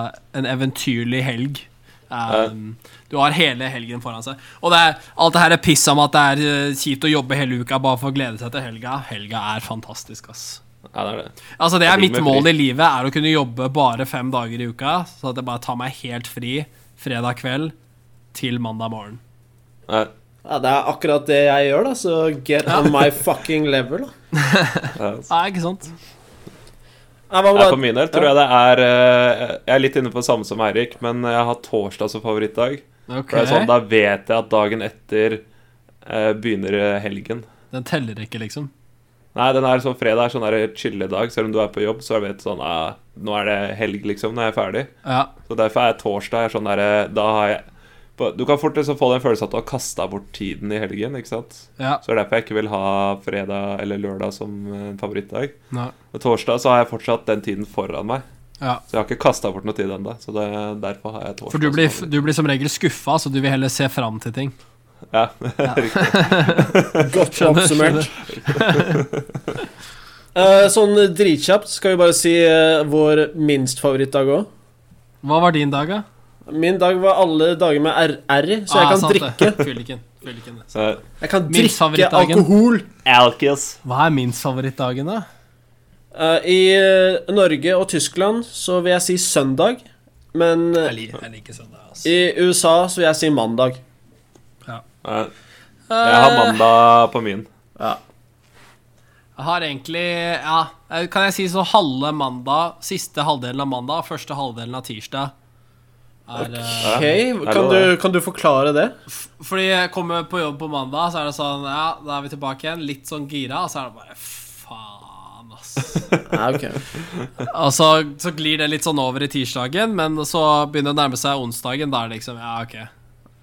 eh, en eventyrlig helg. Um, du har hele helgen foran seg. Og det er, alt det her er piss om at det er eh, kjipt å jobbe hele uka bare for å glede seg til helga. Helga er fantastisk, ass. Ja, det er det. Altså Det er Jeg mitt blir med mål fri. i livet, er å kunne jobbe bare fem dager i uka. Så at jeg bare tar meg helt fri fredag kveld til mandag morgen. Nei, Ja, Det er akkurat det jeg gjør, da, så get on *laughs* my fucking level. da det er- Ja, ikke sant? Nei, hva Nei, med for min del tror jeg det er eh, Jeg er litt inne på det samme som Eirik, men jeg har torsdag som favorittdag. For det er sånn, Da vet jeg at dagen etter eh, begynner helgen. Den teller ikke, liksom. Nei, den er sånn fredag er sånn der chilledag. Selv om du er på jobb, så vet du sånn eh, Nå er det helg, liksom. Når jeg er ferdig. Ja, Så derfor er torsdag er sånn der eh, Da har jeg på- Du kan fort liksom få den følelsen at du har kasta bort tiden i helgen, ikke sant. ja, Så det er derfor jeg ikke vil ha fredag eller lørdag som en favorittdag. Nei. Og torsdag så har jeg fortsatt den tiden foran meg. ja. Så jeg har ikke kasta bort noe tid ennå. Så det, derfor har jeg torsdag. For du blir, som du blir som regel skuffa, så du vil heller se fram til ting. favoritt. Ja, riktig. det? Godt oppsummert. *laughs* Eh, sånn dritkjapt skal vi bare si eh, vår minst favorittdag òg. Hva var din dag, da? Min dag var alle dager med R, R i, så jeg Ah, kan sant det. drikke *laughs* Fylliken. Fylliken. Så eh, Jeg kan Minst drikke favorittdagen. alkohol. Alkis. Hva er minst favorittdagen, da? Eh, I eh, Norge og Tyskland så vil jeg si søndag, men eh, liker, søndag. Altså. i USA så vil jeg si mandag. Nei, eh, Jeg har mandag på min. Jeg har egentlig Ja, eh, kan jeg si så halve mandag, siste halvdelen av mandag, første halvdelen av tirsdag er eh, Ok, Ja. kan du, kan du forklare det? Fordi jeg kommer på jobb på mandag, så er det sånn Ja, da er vi tilbake igjen. Litt sånn gira, og så er det bare Faen, ass. Ja, ok Og så, Altså, så glir det litt sånn over i tirsdagen, men så begynner det å nærme seg onsdagen. Da er det liksom Ja, ok.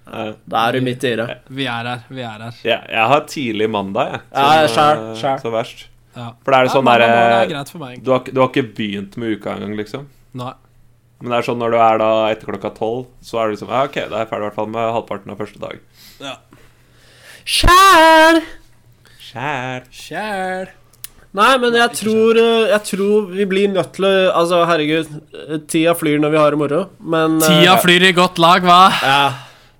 Nei. Da er du midt i det. Vi er her. Vi er her. Ja, Eh, jeg har tidlig mandag, jeg. Ja, Som, skjær, eh, skjær. Som verst. Ja. For det er sånn ja, der, mandag morgen er eh, greit for meg. du, har, ikke- du har ikke begynt med uka engang, liksom. Nei. Men det er sånn når du er da etter klokka tolv, så er du liksom ja, OK, da er jeg ferdig i hvert fall med halvparten av første dag. Skjær! Skjær. Kjæl. Nei, men jeg tror, eh, jeg tror vi blir nødt til å Altså, herregud, eh, tida flyr når vi har det moro, men eh, Tida flyr i godt lag, hva? ja.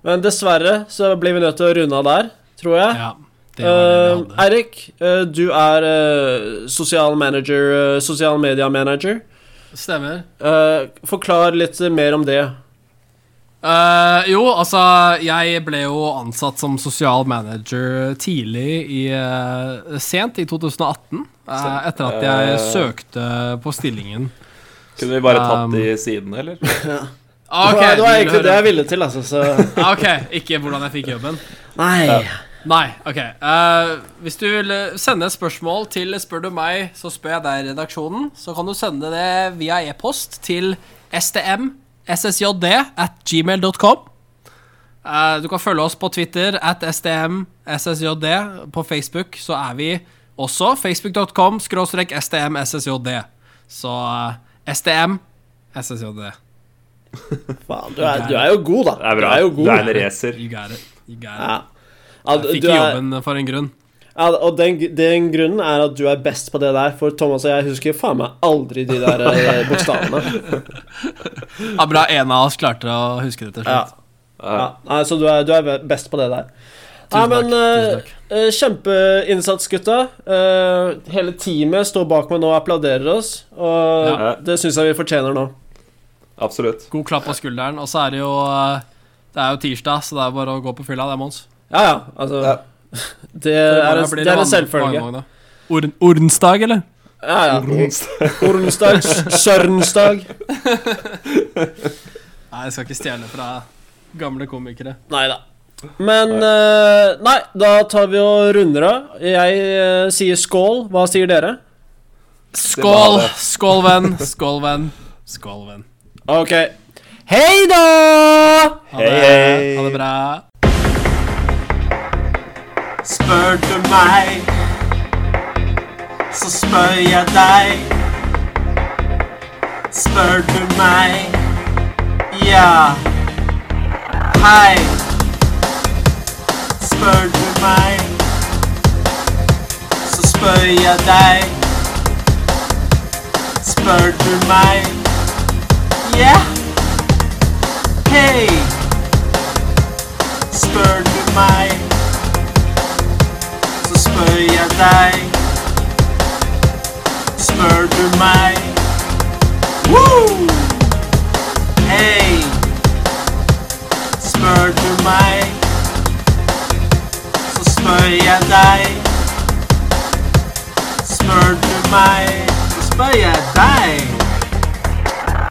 Men dessverre så blir vi nødt til å runde av der, tror jeg. Ja. Det var det vi Eh, hadde. Eirik, eh, du er eh, sosial manager eh, Sosial media manager. Stemmer. Eh, forklar litt mer om det. Eh, jo, altså, jeg ble jo ansatt som sosial manager tidlig i eh, Sent i 2018. eh, etter at jeg Eh. søkte på stillingen. Kunne vi bare tatt Um, de sidene, eller? Ah, ok, det, var, det var du egentlig hører. det jeg ville til, altså. Så. Ah, Ok, ikke hvordan jeg fikk jobben. Nei. Nei, ok. Eh, hvis du vil sende et spørsmål til Spør du meg, så spør jeg deg i redaksjonen. Så kan du sende det via e-post til stmssjd at gmail.com. Eh, du kan følge oss på Twitter at stmssjd. På Facebook så er vi også facebook.com skråstrek stmssjd. Så uh, stmssjd. Faen, du er, du er jo god, da. Det er bra. Du er jo Du god. er en racer. You got it. You got it. Ja. Ja, Jeg du fikk er, jobben for en grunn. ja, og den, den grunnen er at du er best på det der, for Thomas og jeg husker faen meg aldri de der *laughs* eh, bokstavene. Ja, bra en av oss klarte å huske det til Ja. slutt. Ja, nei, så du er, du er best på det der. Nei, Tusen takk, men eh, tusen takk. eh, Kjempeinnsats, gutta. Eh, hele teamet står bak meg nå og applauderer oss. Og Ja. det syns jeg vi fortjener nå. Absolutt. God klapp på skulderen. Og så er det jo eh, Det er jo tirsdag, så det er bare å gå på fylla. Det er Mons. Ja, ja, altså Ja. *laughs* Det Eh, er en, det er en selvfølge. Ordensdag, eller? Ja, ja. Ormsdag, Sørensdag Nei, jeg skal ikke stjele fra gamle komikere. Nei da. Men eh, Nei, da tar vi og runder av. Jeg eh, sier skål. Hva sier dere? Skål! Det er bare det. Skål, venn. Skål, venn. Skål, venn. Ok. Hei da! Ha det, Hei, hei. ha det bra. Spør du meg, så spør jeg deg. Spør du meg, ja. Hei. Spør du meg, så spør jeg deg. Spør du meg, ja. Hei. Spør du meg så spør jeg deg. Spør du meg? Woo! Hei! Spør du meg, så spør jeg deg. Spør du meg, så spør jeg deg.